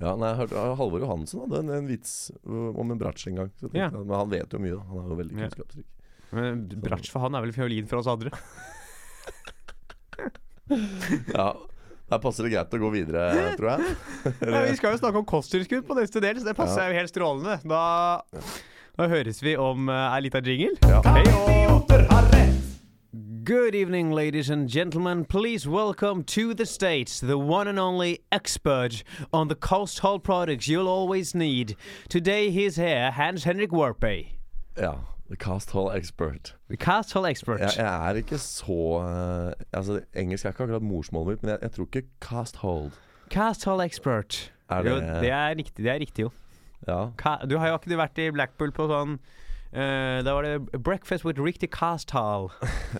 Speaker 3: Ja, nei, jeg hørte Halvor Johansen hadde en, en vits øh, om en bratsj en gang. Så tenkte
Speaker 2: Ja.
Speaker 3: jeg, men han vet jo mye, da. Han er jo veldig
Speaker 2: Ja.
Speaker 3: kunnskapsrik.
Speaker 2: Men bratsj for han er vel fiolin for oss andre.
Speaker 3: Ja, Der passer det greit å gå videre, tror jeg.
Speaker 2: Ja, vi skal jo snakke om kosttilskudd på neste del, så det passer jo helt strålende. Da, da høres vi om eh, ei lita jingle. Hei og
Speaker 1: oh.
Speaker 2: Good evening, ladies and gentlemen. Please welcome to the States the one and only expert on the cost haul products you'll always need. Today he's here, Hans Henrik Warpe.
Speaker 3: Ja. The cast hall expert.
Speaker 2: The cost haul expert.
Speaker 3: Jeg, jeg er ikke så eh, Altså, Engelsk er ikke akkurat morsmålet mitt, men jeg, jeg tror ikke cast hold.
Speaker 2: Cost haul expert.
Speaker 3: Er
Speaker 2: Jo,
Speaker 3: det-
Speaker 2: det er riktig, det er riktig jo.
Speaker 3: Ja.
Speaker 2: Ka du har jo ikke vært i Blackpool på sånn eh, Da var det 'Breakfast with Ricky Casthall'.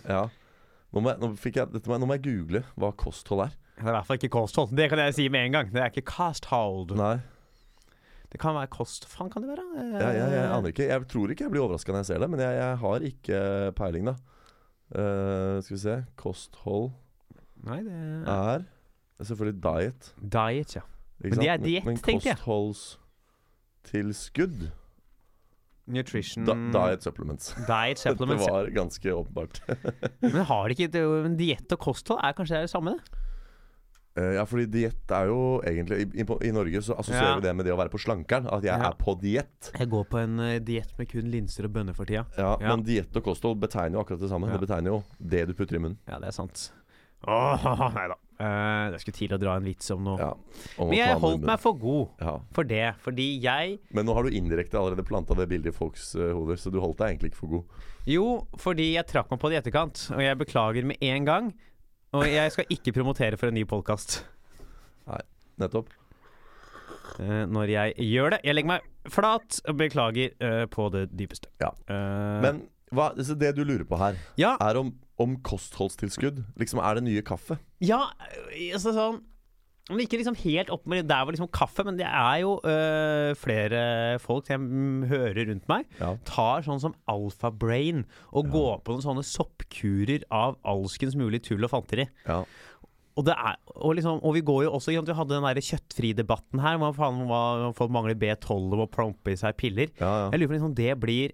Speaker 3: ja. Nå må jeg, nå fikk jeg, dette må, jeg- nå må jeg google hva kosthold er.
Speaker 2: Det er i hvert fall ikke kosthold. Det kan jeg si med en gang. Det er ikke casthold.
Speaker 3: Nei,
Speaker 2: Det kan være kost... Faen, kan det være? Eh,
Speaker 3: jeg, jeg, jeg aner ikke. Jeg tror ikke jeg blir overraska når jeg ser det, men jeg, jeg har ikke peiling, da. Eh, skal vi se. Kosthold
Speaker 2: Nei, det er
Speaker 3: er selvfølgelig diet.
Speaker 2: Diet, ja.
Speaker 3: Ikke
Speaker 2: Men det er
Speaker 3: sant?
Speaker 2: diett, tenkte jeg.
Speaker 3: Men kostholdstilskudd
Speaker 2: Nutrition
Speaker 3: da, Diet supplements.
Speaker 2: Diet
Speaker 3: Det
Speaker 2: Mm. supplements.
Speaker 3: var ganske åpenbart.
Speaker 2: Men har de ikke det, men diett og kosthold er kanskje det samme, det?
Speaker 3: Eh, ja, fordi diett er jo egentlig I, i, på- i Norge så assosierer
Speaker 2: Ja.
Speaker 3: vi det med det å være på slankeren. At jeg
Speaker 2: Ja.
Speaker 3: er på diett.
Speaker 2: Jeg går på en uh, diett med kun linser og bønner for tida.
Speaker 3: Ja,
Speaker 2: Ja.
Speaker 3: Men diett og kosthold betegner jo akkurat det samme.
Speaker 2: Ja.
Speaker 3: Det betegner jo det du putter i munnen.
Speaker 2: Ja, det er sant. Åh, nei da. Eh, jeg skulle til å dra en vits om noe.
Speaker 3: Ja, om å
Speaker 2: Men
Speaker 3: ta
Speaker 2: jeg
Speaker 3: noe i
Speaker 2: holdt
Speaker 3: munnen.
Speaker 2: meg for god
Speaker 3: ja.
Speaker 2: for det, fordi jeg
Speaker 3: Men nå har du indirekte allerede planta det bildet i folks eh, hoder, så du holdt deg egentlig ikke for god.
Speaker 2: Jo, fordi jeg trakk meg på det i etterkant, og jeg beklager med en gang. Og jeg skal ikke promotere for en ny podkast
Speaker 3: Nettopp.
Speaker 2: Eh, når jeg gjør det. Jeg legger meg flat og beklager eh, på det dypeste.
Speaker 3: Ja.
Speaker 2: Eh,
Speaker 3: Men hva, så det du lurer på her,
Speaker 2: ja,
Speaker 3: er om, om kostholdstilskudd liksom er det nye kaffe.
Speaker 2: ja, altså sånn men Ikke liksom helt opp med der var liksom kaffe, men det er jo eh, flere folk jeg mm, hører rundt meg,
Speaker 3: Ja.
Speaker 2: tar sånn som alfabrain og går på noen sånne soppkurer av alskens mulig tull og fanteri.
Speaker 3: Ja.
Speaker 2: Og, det er, og, liksom, og vi går jo også ikke sant, Vi hadde den der kjøttfri-debatten her. Hvor faen hva- folk mangler B12 og må plompe i seg piller.
Speaker 3: Ja, ja.
Speaker 2: Jeg lurer på liksom, det blir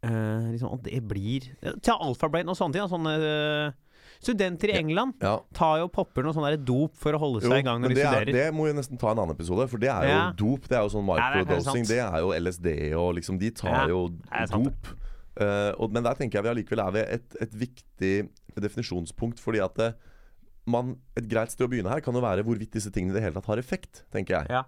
Speaker 2: eh, liksom, Om det blir Ta Alphabrain og sånne ting. da, Sånne, eh, studenter i England
Speaker 3: Ja.
Speaker 2: tar jo og popper noe sånn der dop for å holde
Speaker 3: Jo,
Speaker 2: seg i gang når
Speaker 3: men
Speaker 2: de
Speaker 3: det, er,
Speaker 2: studerer.
Speaker 3: det må vi nesten ta en annen episode, for det er jo
Speaker 2: Ja.
Speaker 3: dop. Det er jo sånn
Speaker 2: Ja, det er kanskje
Speaker 3: microdosing.
Speaker 2: sant.
Speaker 3: det er jo LSD og liksom De tar
Speaker 2: Ja,
Speaker 3: jo
Speaker 2: det er sant det.
Speaker 3: dop. Eh, og, men der tenker jeg vi allikevel er ved et, et viktig definisjonspunkt, fordi at det, man, et greit sted å begynne her kan jo være hvorvidt disse tingene i det hele tatt har effekt, tenker jeg.
Speaker 2: Ja.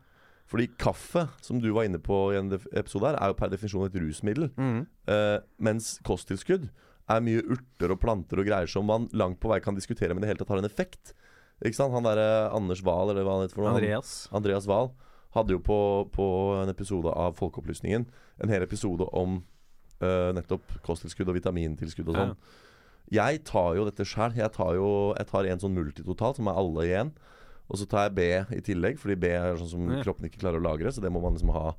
Speaker 3: Fordi kaffe, som du var inne på i en def- episode her, er jo per definisjon et rusmiddel. Eh, mens kosttilskudd er mye urter og planter og greier som man langt på vei kan diskutere, men i det hele tatt har en effekt. Ikke sant? Han derre Anders Wahl, eller hva han heter for noe. han-
Speaker 2: Andreas.
Speaker 3: Andreas Wahl hadde jo på, på en episode av Folkeopplysningen en hel episode om eh, nettopp kosttilskudd og vitamintilskudd og sånn. Jeg tar jo dette sjøl. Jeg, tar jo- jeg tar en sånn multi totalt, som er alle i én. Og så tar jeg B i tillegg, fordi B er sånn som
Speaker 2: Ja.
Speaker 3: kroppen ikke klarer å lagre. Så det må man liksom ha.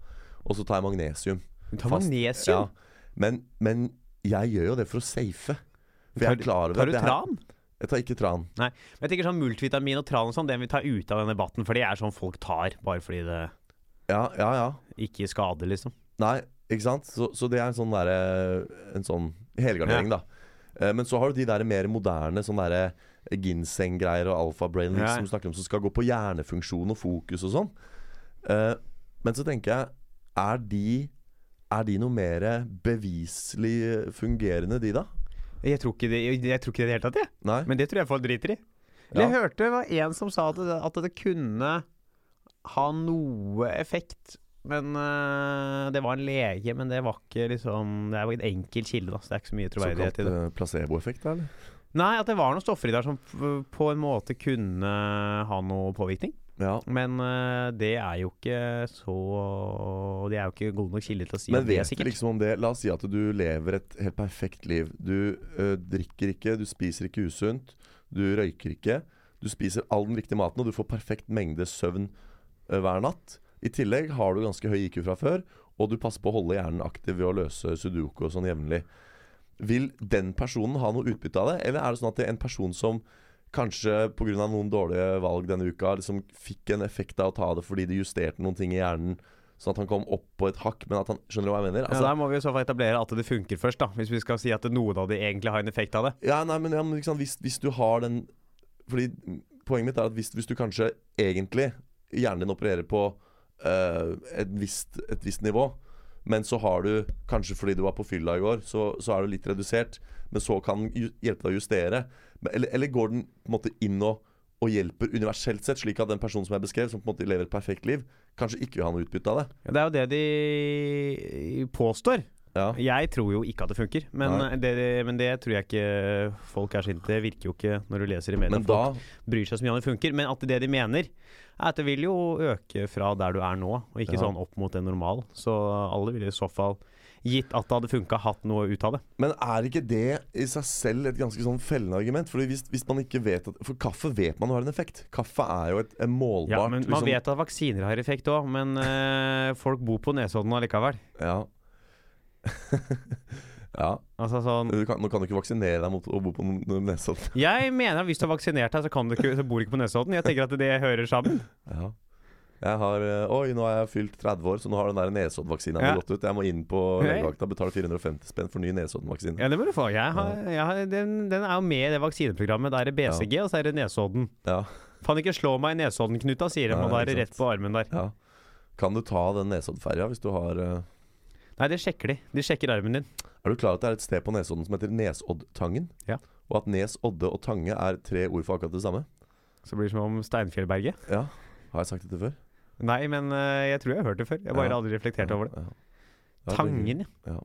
Speaker 3: Og så tar jeg magnesium.
Speaker 2: Du tar
Speaker 3: Fast-
Speaker 2: magnesium.
Speaker 3: Ja. Men, men jeg gjør jo det for å safe. For jeg er klar over
Speaker 2: Tar
Speaker 3: at
Speaker 2: du
Speaker 3: det her-
Speaker 2: tran?
Speaker 3: Jeg tar ikke tran.
Speaker 2: Nei. Men jeg tenker sånn multivitamin og tran og sånn, den vil ta ut av denne debatten, for det er sånn folk tar bare fordi det
Speaker 3: Ja, ja, ja.
Speaker 2: ikke skader, liksom.
Speaker 3: Nei, ikke sant? Så, så det er en sånn derre En sånn helgardering, da. Eh, Men så har du de der mer moderne sånn derre ginseng-greier og alfa-brain
Speaker 2: Ja.
Speaker 3: som du snakker om, som skal gå på hjernefunksjon og fokus og sånn. Eh, Men så tenker jeg, er de er de noe mer beviselig fungerende, de da?
Speaker 2: Jeg tror ikke det jeg, jeg tror ikke det i det hele tatt, jeg.
Speaker 3: Nei?
Speaker 2: Men det tror jeg folk driter i.
Speaker 3: Ja.
Speaker 2: Jeg hørte det var en som sa at det, at det kunne ha noe effekt. Men øh, det var en lege, men det var ikke liksom Det er jo en enkel kilde, da, så det er ikke så mye
Speaker 3: Såkalt
Speaker 2: troverdighet i det.
Speaker 3: eh, placeboeffekt, da, eller?
Speaker 2: Nei, at det var noen stoffer i der som f- på en måte kunne ha noe påvirkning.
Speaker 3: Ja.
Speaker 2: Men øh, det er jo ikke så Det er jo ikke god nok kilde til å si
Speaker 3: Men
Speaker 2: at det er
Speaker 3: vet du
Speaker 2: sikkert.
Speaker 3: liksom om det La oss si at du lever et helt perfekt liv. Du ø, drikker ikke, du spiser ikke usunt, du røyker ikke. Du spiser all den riktige maten, og du får perfekt mengde søvn ø, hver natt. I tillegg har du ganske høy IQ fra før, og du passer på å holde hjernen aktiv ved å løse sudoku og sånn jevnlig. Vil den personen ha noe utbytte av det, eller er det sånn at det er en person som Kanskje pga. noen dårlige valg denne uka liksom fikk en effekt av å ta det fordi det justerte noen ting i hjernen, sånn at han kom opp på et hakk, men at han Skjønner du hva jeg mener?
Speaker 2: ja,
Speaker 3: Altså,
Speaker 2: der må vi i så fall etablere at det funker først, da. Hvis vi skal si at noe av det egentlig har en effekt av det.
Speaker 3: Ja, nei, men, ja, men ikke sant? Hvis, hvis du har den Fordi poenget mitt er at hvis, hvis du kanskje egentlig Hjernen din opererer på eh, et, visst, et visst nivå Men så har du, kanskje fordi du var på fylla i går Så, så er du litt redusert Men så kan den ju- hjelpe deg å justere Men- Eller, eller går den på en måte inn og og hjelper universelt sett, slik at den personen som jeg beskrev, som på en måte lever et perfekt liv, kanskje ikke vil ha noe utbytte av det.
Speaker 2: Ja, Det er jo det de påstår.
Speaker 3: Ja.
Speaker 2: Jeg tror jo ikke at det funker,
Speaker 3: Nei.
Speaker 2: men, det, men det tror jeg ikke folk er sinte Det virker jo ikke når du leser i media.
Speaker 3: Men
Speaker 2: at
Speaker 3: da
Speaker 2: folk bryr seg så mye om det funker. Men at det de mener, er at det vil jo øke fra der du er nå, og ikke
Speaker 3: Ja.
Speaker 2: sånn opp mot en normal. Så alle ville i så fall, gitt at det hadde funka, hatt noe ut av det.
Speaker 3: Men er ikke det i seg selv et ganske sånn fellende argument? Fordi hvis, hvis man ikke vet at, For kaffe vet man har en effekt. Kaffe er jo et, et målbart
Speaker 2: Ja, men Man
Speaker 3: liksom-
Speaker 2: vet at vaksiner har effekt òg, men eh, folk bor på Nesodden allikevel.
Speaker 3: Ja. ja.
Speaker 2: Altså sånn
Speaker 3: Du kan, nå kan du ikke vaksinere deg mot å bo på N- N- Nesodden.
Speaker 2: Jeg mener at hvis du har vaksinert deg, så, kan du ikke, så bor du ikke på Nesodden. Jeg tenker at det hører sammen.
Speaker 3: Ja. Jeg har, eh, oi, nå har jeg fylt 30 år, så nå har den der Nesoddvaksina
Speaker 2: Ja.
Speaker 3: mi gått ut. Jeg må inn på
Speaker 2: Hei.
Speaker 3: legevakta og betale 450 spenn for ny Nesoddenvaksine.
Speaker 2: Ja, det må du få. Jeg har, jeg har, den, den er jo med i det vaksineprogrammet. Da er det BCG, og så er det Nesodden.
Speaker 3: Ja.
Speaker 2: Faen ikke slå meg i Nesodden, Knuta, sier de,
Speaker 3: Nei,
Speaker 2: og da er det
Speaker 3: ikke
Speaker 2: rett på armen der.
Speaker 3: ja. Kan du ta den Nesoddferja hvis du har eh,
Speaker 2: Nei, det sjekker de. De sjekker armen din.
Speaker 3: Er du klar over at det er et sted på Nesodden som heter Nesoddtangen?
Speaker 2: Ja.
Speaker 3: Og at Nes, Odde og Tange er tre ord for akkurat det samme?
Speaker 2: Så blir det som om Steinfjellberget.
Speaker 3: Ja. Har jeg sagt dette før?
Speaker 2: Nei, men øh, jeg tror jeg har hørt det før. Jeg bare
Speaker 3: Ja.
Speaker 2: aldri reflektert over det.
Speaker 3: Ja. Ja,
Speaker 2: Tangen,
Speaker 3: Ja.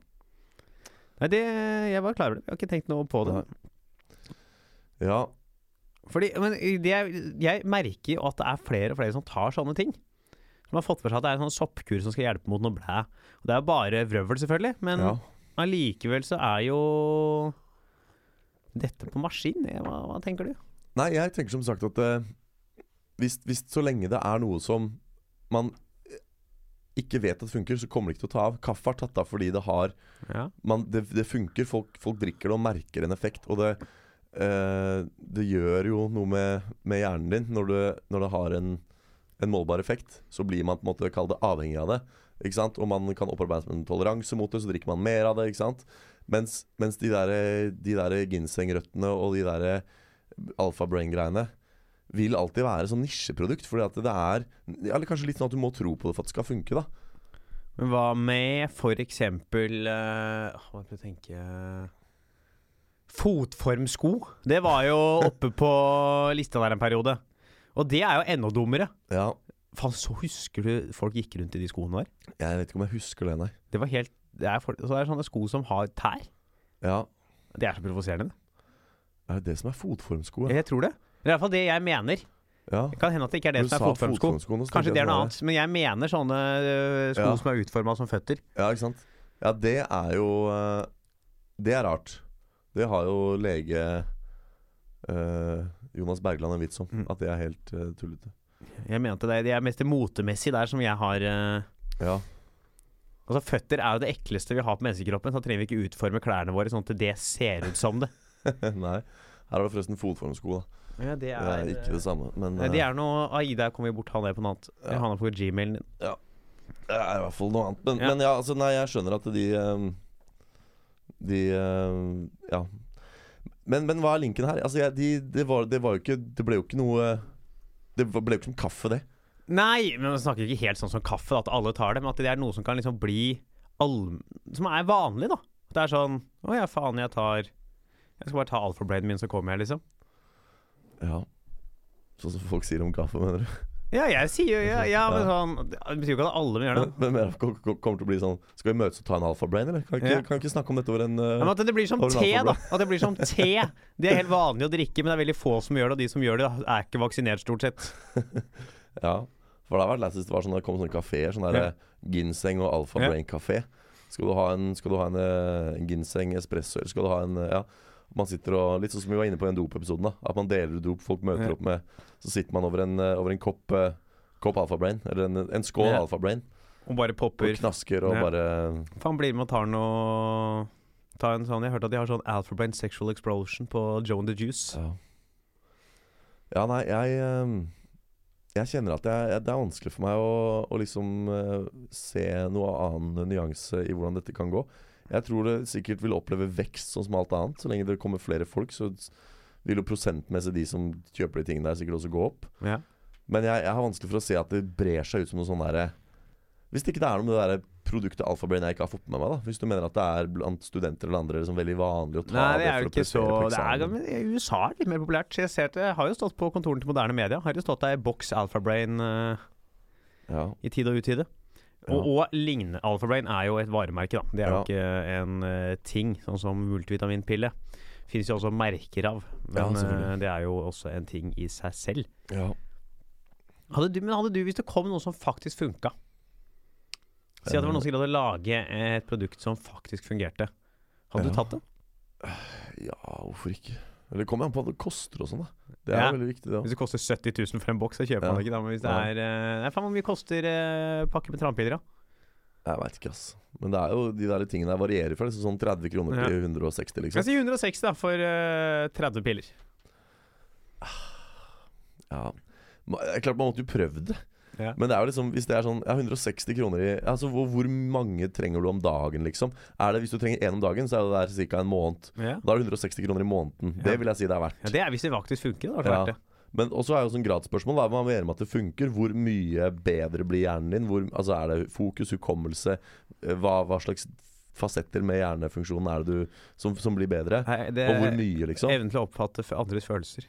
Speaker 2: Nei, det, jeg var klar over det. Jeg har ikke tenkt noe på det.
Speaker 3: Nei. Ja.
Speaker 2: Fordi, men det, er- jeg merker jo at det er flere og flere som tar sånne ting. Som har fått for seg at det er en sånn soppkur som skal hjelpe mot noe blæ. Og det er jo bare vrøvl, selvfølgelig, men
Speaker 3: ja.
Speaker 2: allikevel så er jo dette på maskin. det- Hva, hva tenker du?
Speaker 3: Nei, jeg tenker som sagt at eh, hvis, hvis så lenge det er noe som man eh, ikke vet at funker, så kommer det ikke til å ta av. Kaffe har tatt av fordi det har
Speaker 2: Ja.
Speaker 3: man, det, det funker. Folk, folk drikker det og merker en effekt. Og det, eh, det gjør jo noe med, med hjernen din. Når, du, når det har en, en målbar effekt, så blir man på en måte kall det avhengig av det. Ikke sant? Og man kan opparbeide seg en toleranse mot det, så drikker man mer av det. Ikke sant? Mens, mens de der, de der ginsengrøttene og de der alfa brain-greiene vil alltid være sånn nisjeprodukt. Fordi at det er Eller kanskje litt sånn at du må tro på det for at det skal funke, da.
Speaker 2: Men hva med for eksempel eh, Hva skal jeg tenke Fotformsko. Det var jo oppe på lista der en periode. Og det er jo enda dummere.
Speaker 3: Ja,
Speaker 2: Faen, så husker du folk gikk rundt i de skoene der?
Speaker 3: jeg vet ikke om jeg husker det, nei.
Speaker 2: Det var helt det er, for, så det er sånne sko som har tær.
Speaker 3: Ja,
Speaker 2: Det er så provoserende. det.
Speaker 3: Er det det som er fotformsko? Ja.
Speaker 2: Jeg tror det. Det er iallfall det jeg mener.
Speaker 3: ja.
Speaker 2: Det kan hende at det ikke Eh, er det som
Speaker 3: Du
Speaker 2: er
Speaker 3: sa
Speaker 2: fotformsko.
Speaker 3: fotformsko, nå
Speaker 2: Kanskje
Speaker 3: tenkte
Speaker 2: det
Speaker 3: jeg
Speaker 2: er noe
Speaker 3: sånn
Speaker 2: annet. Men jeg mener sånne øh, sko
Speaker 3: Ja.
Speaker 2: som er utforma som føtter.
Speaker 3: Ja, ikke sant? Ja, det er jo eh, Det er rart. Det har jo lege eh, Jonas Bergland en vits om.
Speaker 2: Mm.
Speaker 3: At det er helt eh, tullete.
Speaker 2: Jeg mente det, det er mest det motemessige der som jeg har øh,
Speaker 3: Ja.
Speaker 2: Altså Føtter er jo det ekleste vi har på menneskekroppen. Så trenger vi ikke utforme klærne våre sånn at det ser ut som det.
Speaker 3: nei. Her har du forresten fotformsko, da.
Speaker 2: Ja, det
Speaker 3: Det er ikke det samme, men
Speaker 2: Nei,
Speaker 3: eh,
Speaker 2: det er noe Ai, der kommer vi bort. Han er på noe annet.
Speaker 3: Ja.
Speaker 2: Han er på gmailen din.
Speaker 3: Det er i hvert fall noe annet. Men
Speaker 2: Ja.
Speaker 3: ja, men ja altså, nei, jeg skjønner at de eh, De eh, Ja. Men, men hva er linken her? Altså, jeg, de, det, var, det var jo ikke Det ble jo ikke noe Det ble jo ikke som kaffe, det.
Speaker 2: Nei, men man snakker ikke helt sånn som kaffe, da, at alle tar det, men at det er noe som kan liksom bli all... Som er vanlig, da. At Det er sånn Å ja, faen, jeg tar Jeg skal bare ta alfabladen min, så kommer jeg, liksom.
Speaker 3: Ja Sånn som folk sier om kaffe, mener du?
Speaker 2: Ja, jeg sier jo ja, ja men sånn Det betyr jo ikke at alle må gjøre det.
Speaker 3: Men mer ko- ko- kommer til å bli sånn Skal vi møtes og ta en alfabrain, eller? Kan vi ikke,
Speaker 2: Ja.
Speaker 3: kan vi ikke snakke om dette over en
Speaker 2: Ja, men
Speaker 3: uh,
Speaker 2: at det blir som
Speaker 3: Har du en
Speaker 2: te, da.
Speaker 3: alfablad?
Speaker 2: At det blir som te. Det er helt vanlig å drikke, men det er veldig få som gjør det. Og de som gjør det, er ikke vaksinert, stort sett.
Speaker 3: Ja. For det har vært lættis hvis det var sånn, det kom sånne kafeer. Sånn der
Speaker 2: Ja.
Speaker 3: eh, ginseng og alfabrain-kafé. Skal du ha en, skal du ha en, eh, en ginseng espresso, eller skal du ha en eh, Ja. Man sitter og Litt sånn som vi var inne på i den dopepisoden, da. At man deler ut dop, folk møter
Speaker 2: Ja.
Speaker 3: opp med Så sitter man over en, eh, over en kopp eh, Kopp alfabrain, eller en, en skål
Speaker 2: Ja.
Speaker 3: alfabrain,
Speaker 2: Og bare
Speaker 3: og
Speaker 2: popper.
Speaker 3: knasker og
Speaker 2: Ja.
Speaker 3: bare
Speaker 2: Faen, bli med og tar noe Ta en sånn Jeg hørte at de har sånn Alphabrain Sexual Explosion på Joan the Juice.
Speaker 3: Ja, ja nei, jeg eh, Jeg kjenner at jeg, jeg, det er vanskelig for meg å, å liksom eh, se noe annen nyanse i hvordan dette kan gå. Jeg tror det sikkert vil oppleve vekst sånn som alt annet. Så lenge det kommer flere folk, så s- vil jo prosentmessig de som kjøper de tingene der, sikkert også gå opp.
Speaker 2: Ja.
Speaker 3: Men jeg, jeg har vanskelig for å se at det brer seg ut som noe sånn derre Hvis det ikke det er noe med det der produktet alfabrain jeg ikke har fått med meg, da. Hvis du mener at det er blant studenter eller andre liksom veldig vanlig å ta
Speaker 2: Nei, det
Speaker 3: det
Speaker 2: er
Speaker 3: for
Speaker 2: jo
Speaker 3: å
Speaker 2: ikke så
Speaker 3: prestere på
Speaker 2: det er,
Speaker 3: eksamen.
Speaker 2: men I USA er det litt mer populært. Så Jeg ser at det har jo stått på kontoren til moderne media. Har det stått der boks Alphabrain eh,
Speaker 3: Ja.
Speaker 2: i tide og utide. Og,
Speaker 3: Ja.
Speaker 2: og lignende. Alphabrain er jo et varemerke, da. Det er jo ikke en eh, ting, sånn som multivitaminpille. Fins jo også merker av,
Speaker 3: Ja,
Speaker 2: men
Speaker 3: selvfølgelig.
Speaker 2: eh, det er jo også en ting i seg selv.
Speaker 3: ja.
Speaker 2: Hadde du, men hadde du, hvis det kom noe som faktisk funka Si at det var noen som greide å lage et produkt som faktisk fungerte. Hadde
Speaker 3: Ja.
Speaker 2: du tatt det?
Speaker 3: Ja, hvorfor ikke? Eller det kommer an på hva det koster og sånn, da. Det er
Speaker 2: Ja.
Speaker 3: jo veldig viktig, det òg.
Speaker 2: Hvis det koster 70 000 for en boks, så kjøper
Speaker 3: Ja.
Speaker 2: man det ikke. Da. Men hvis det
Speaker 3: Nei.
Speaker 2: er eh, Nei, faen, hvor mye koster eh, pakke med trampiller, da?
Speaker 3: Jeg veit ikke, ass. Men det er jo de der tingene der varierer fra liksom sånn 30 kroner til 160,
Speaker 2: Jeg
Speaker 3: liksom.
Speaker 2: sier 160 da, for eh, 30 piller.
Speaker 3: Ja. Ma- det er Klart man måtte jo prøvd det.
Speaker 2: Ja.
Speaker 3: Men det er jo liksom, hvis det er sånn ja, 160 kroner i Altså hvor, hvor mange trenger du om dagen, liksom? Er det, Hvis du trenger én om dagen, så er det der ca. en måned.
Speaker 2: Ja.
Speaker 3: Da er det 160 kroner i måneden.
Speaker 2: Ja.
Speaker 3: Det vil jeg si det er verdt.
Speaker 2: det er hvis det faktisk funker. Da,
Speaker 3: Ja.
Speaker 2: ja. det.
Speaker 3: Men også er jo sånn gradsspørsmål da, Hva mener med at det funker? Hvor mye bedre blir hjernen din? Hvor, altså er det fokus, hukommelse? Eh, Hva, hva slags fasetter med hjernefunksjonen er det du som, som blir bedre?
Speaker 2: Nei, det
Speaker 3: Og hvor mye, liksom?
Speaker 2: Evnen til å oppfatte f- andres følelser.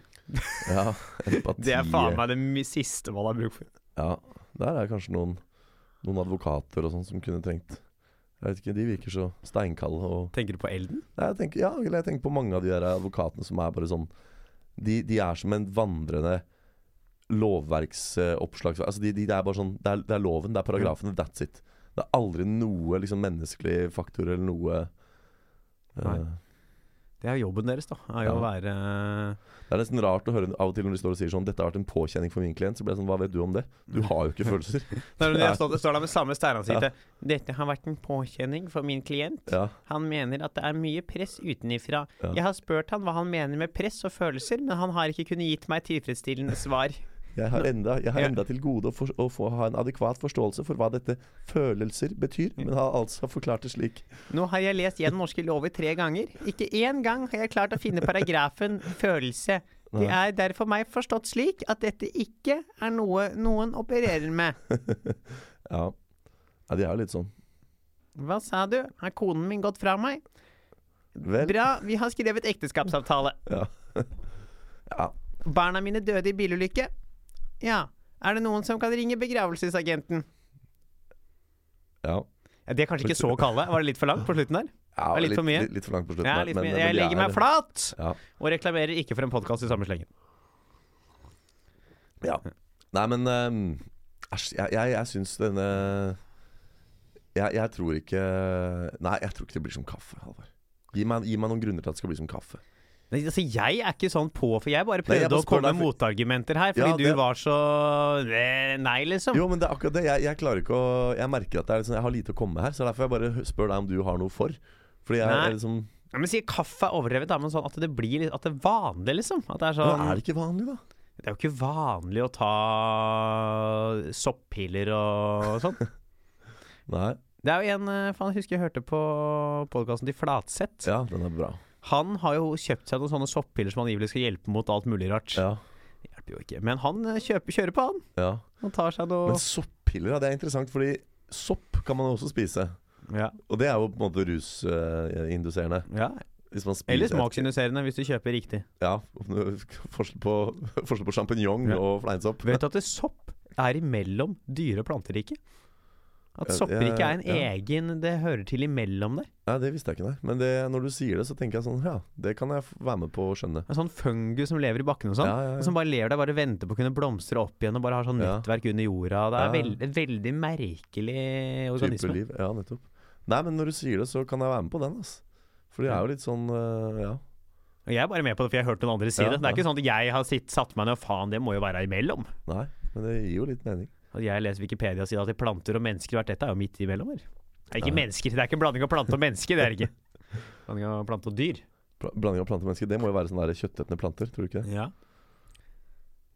Speaker 3: Ja, empati
Speaker 2: Det er faen meg det mi- siste man har bruk for.
Speaker 3: Ja, Der er kanskje noen, noen advokater og sånn som kunne trengt Jeg vet ikke, De virker så steinkalde og
Speaker 2: Tenker du på elden?
Speaker 3: Nei, jeg tenker, Ja, eller jeg tenker på mange av de der advokatene som er bare sånn De, de er som en vandrende lovverksoppslag. Altså de, de, det er bare sånn det er, det er loven, det er paragrafene, that's it. Det er aldri noe liksom, menneskelig faktor eller noe eh,
Speaker 2: Nei. Det er jo jobben deres, da. Er jo
Speaker 3: Ja.
Speaker 2: å være
Speaker 3: Det er nesten rart å høre av og til når de står og sier sånn 'Dette har vært en påkjenning for min klient', så blir jeg sånn Hva vet du om det? Du
Speaker 2: Mm.
Speaker 3: har jo ikke følelser.
Speaker 2: Nei, men
Speaker 3: Ja.
Speaker 2: Jeg står, står der med samme steinansiktet. Dette har vært en påkjenning for min klient.
Speaker 3: Ja,
Speaker 2: Han mener at det er mye press utenifra.
Speaker 3: Ja.
Speaker 2: Jeg har spurt han hva han mener med press og følelser, men han har ikke kunnet gitt meg tilfredsstillende svar.
Speaker 3: jeg har enda, jeg har
Speaker 2: Ja.
Speaker 3: enda til gode å, for, å få ha en adekvat forståelse for hva dette følelser betyr,
Speaker 2: Mm.
Speaker 3: men har altså forklart det slik.
Speaker 2: Nå har jeg lest gjennom norske lover tre ganger. Ikke én gang har jeg klart å finne paragrafen 'følelse'. Det er derfor meg forstått slik at dette ikke er noe noen opererer med.
Speaker 3: Ja, ja de er jo litt sånn.
Speaker 2: Hva sa du? Har konen min gått fra meg?
Speaker 3: Vel,
Speaker 2: Bra, vi har skrevet ekteskapsavtale.
Speaker 3: Ja. Ja.
Speaker 2: Barna mine døde i bilulykke. Ja. Er det noen som kan ringe begravelsesagenten?
Speaker 3: ja.
Speaker 2: Ja, de er kanskje ikke så kalde. Var det litt for langt på slutten der?
Speaker 3: Ja,
Speaker 2: Det er litt for mye.
Speaker 3: Litt, litt for langt på slutten.
Speaker 2: Ja,
Speaker 3: her,
Speaker 2: litt
Speaker 3: men-
Speaker 2: mer.
Speaker 3: men
Speaker 2: Jeg
Speaker 3: de
Speaker 2: legger
Speaker 3: er-
Speaker 2: meg flat
Speaker 3: Ja.
Speaker 2: og reklamerer ikke for en podkast i samme slengen.
Speaker 3: ja. Nei, men ehm, Æsj, jeg, jeg, jeg syns denne jeg, jeg tror ikke Nei, jeg tror ikke det blir som kaffe, Halvor. Gi meg, gi meg noen grunner til at det skal bli som kaffe.
Speaker 2: Nei, altså, jeg er ikke sånn på, for jeg bare
Speaker 3: Nei,
Speaker 2: prøvde
Speaker 3: jeg bare
Speaker 2: å komme
Speaker 3: spør deg
Speaker 2: med motargumenter her, fordi
Speaker 3: Ja, det-
Speaker 2: du var så eh, Nei, liksom.
Speaker 3: Jo, men det er akkurat det. Jeg, jeg klarer ikke å Jeg merker at det er liksom, jeg har lite å komme med her, så derfor jeg bare spør deg om du har noe for. Fordi jeg,
Speaker 2: Nei.
Speaker 3: jeg liksom
Speaker 2: Ja, men sier kaffe er overdrevet, da, men sånn at det blir litt At det er vanlig, liksom. At det er sånn
Speaker 3: Men er det ikke vanlig, da?
Speaker 2: Det er jo ikke vanlig å ta soppiller og sånn.
Speaker 3: Nei.
Speaker 2: Det er jo en eh, Faen, jeg husker jeg hørte på podkasten til Flatseth.
Speaker 3: Ja, den er bra.
Speaker 2: Han har jo kjøpt seg noen sånne soppiller som angivelig skal hjelpe mot alt mulig rart.
Speaker 3: Ja,
Speaker 2: Det hjelper jo ikke. Men han eh, kjøper, kjører på, han.
Speaker 3: ja.
Speaker 2: Han tar seg noe
Speaker 3: Men soppiller, ja, det er interessant, fordi sopp kan man også spise.
Speaker 2: ja.
Speaker 3: Og det er jo på en måte rusinduserende.
Speaker 2: Ja.
Speaker 3: Hvis man spiser
Speaker 2: Eller smaksinduserende, hvis du kjøper riktig.
Speaker 3: Ja, forskjell på, forskjell på sjampinjong
Speaker 2: Ja.
Speaker 3: og fleinsopp.
Speaker 2: Vet du at det sopp er imellom dyre- og planteriket? At
Speaker 3: Ja,
Speaker 2: sopperiket er en
Speaker 3: ja, ja.
Speaker 2: egen Det hører til imellom der.
Speaker 3: Nei, det visste jeg ikke, nei. Men det, når du sier det, så tenker jeg sånn Ja, det kan jeg f- være med på å skjønne.
Speaker 2: En sånn fungus som lever i bakken og sånn.
Speaker 3: Ja, ja, ja.
Speaker 2: og Som bare lever der, bare venter på å kunne blomstre opp igjen og bare har sånn
Speaker 3: Ja.
Speaker 2: nettverk under jorda. Det er
Speaker 3: Ja, ja.
Speaker 2: veld, en veldig merkelig
Speaker 3: Type
Speaker 2: organisme.
Speaker 3: liv. Ja, nettopp. Nei, men når du sier det, så kan jeg være med på den, ass. For det er jo litt sånn eh, Ja.
Speaker 2: Og jeg er bare med på det, for jeg har hørt noen andre si
Speaker 3: Ja,
Speaker 2: det. Det
Speaker 3: ja.
Speaker 2: er ikke sånn at jeg har sitt, satt meg ned og faen, det må jo være imellom.
Speaker 3: Nei, men det gir jo litt mening.
Speaker 2: At jeg leser Wikipedia-sida til planter og mennesker hvert dette er jo midt imellom her. Det er ikke
Speaker 3: Ja.
Speaker 2: mennesker, det er ikke en blanding av plante og menneske, det er det ikke. Blanding av plante og dyr.
Speaker 3: Pla- Blanding av planter og mennesker, det må jo være sånne der kjøttetende planter, tror du ikke det?
Speaker 2: Ja.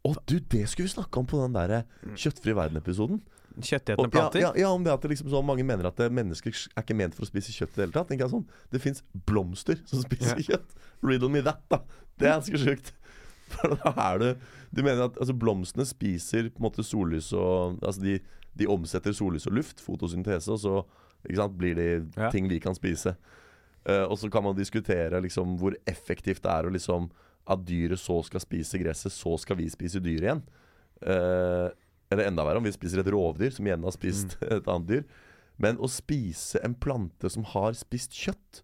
Speaker 3: Å du, det skulle vi snakke om på den derre Kjøttfri verden-episoden.
Speaker 2: Kjøttetende
Speaker 3: Og- Ja,
Speaker 2: planter.
Speaker 3: ja, ja, om det at det liksom sånn mange mener at eh, mennesker er ikke ment for å spise kjøtt i det hele tatt. Tenker jeg sånn, Det fins blomster som spiser kjøtt. Riddle me that, da. Det er ganske sjukt. For da er det Du mener at altså, blomstene spiser på en måte sollys og Altså de, de omsetter sollys og luft, fotosyntese, og så ikke sant, blir de
Speaker 2: Ja.
Speaker 3: ting vi kan spise. Eh, og så kan man diskutere liksom, hvor effektivt det er å liksom at dyret så skal spise gresset, så skal vi spise dyret igjen. Eh, eller enda verre om vi spiser et rovdyr som igjen har spist et annet dyr. Men å spise en plante som har spist kjøtt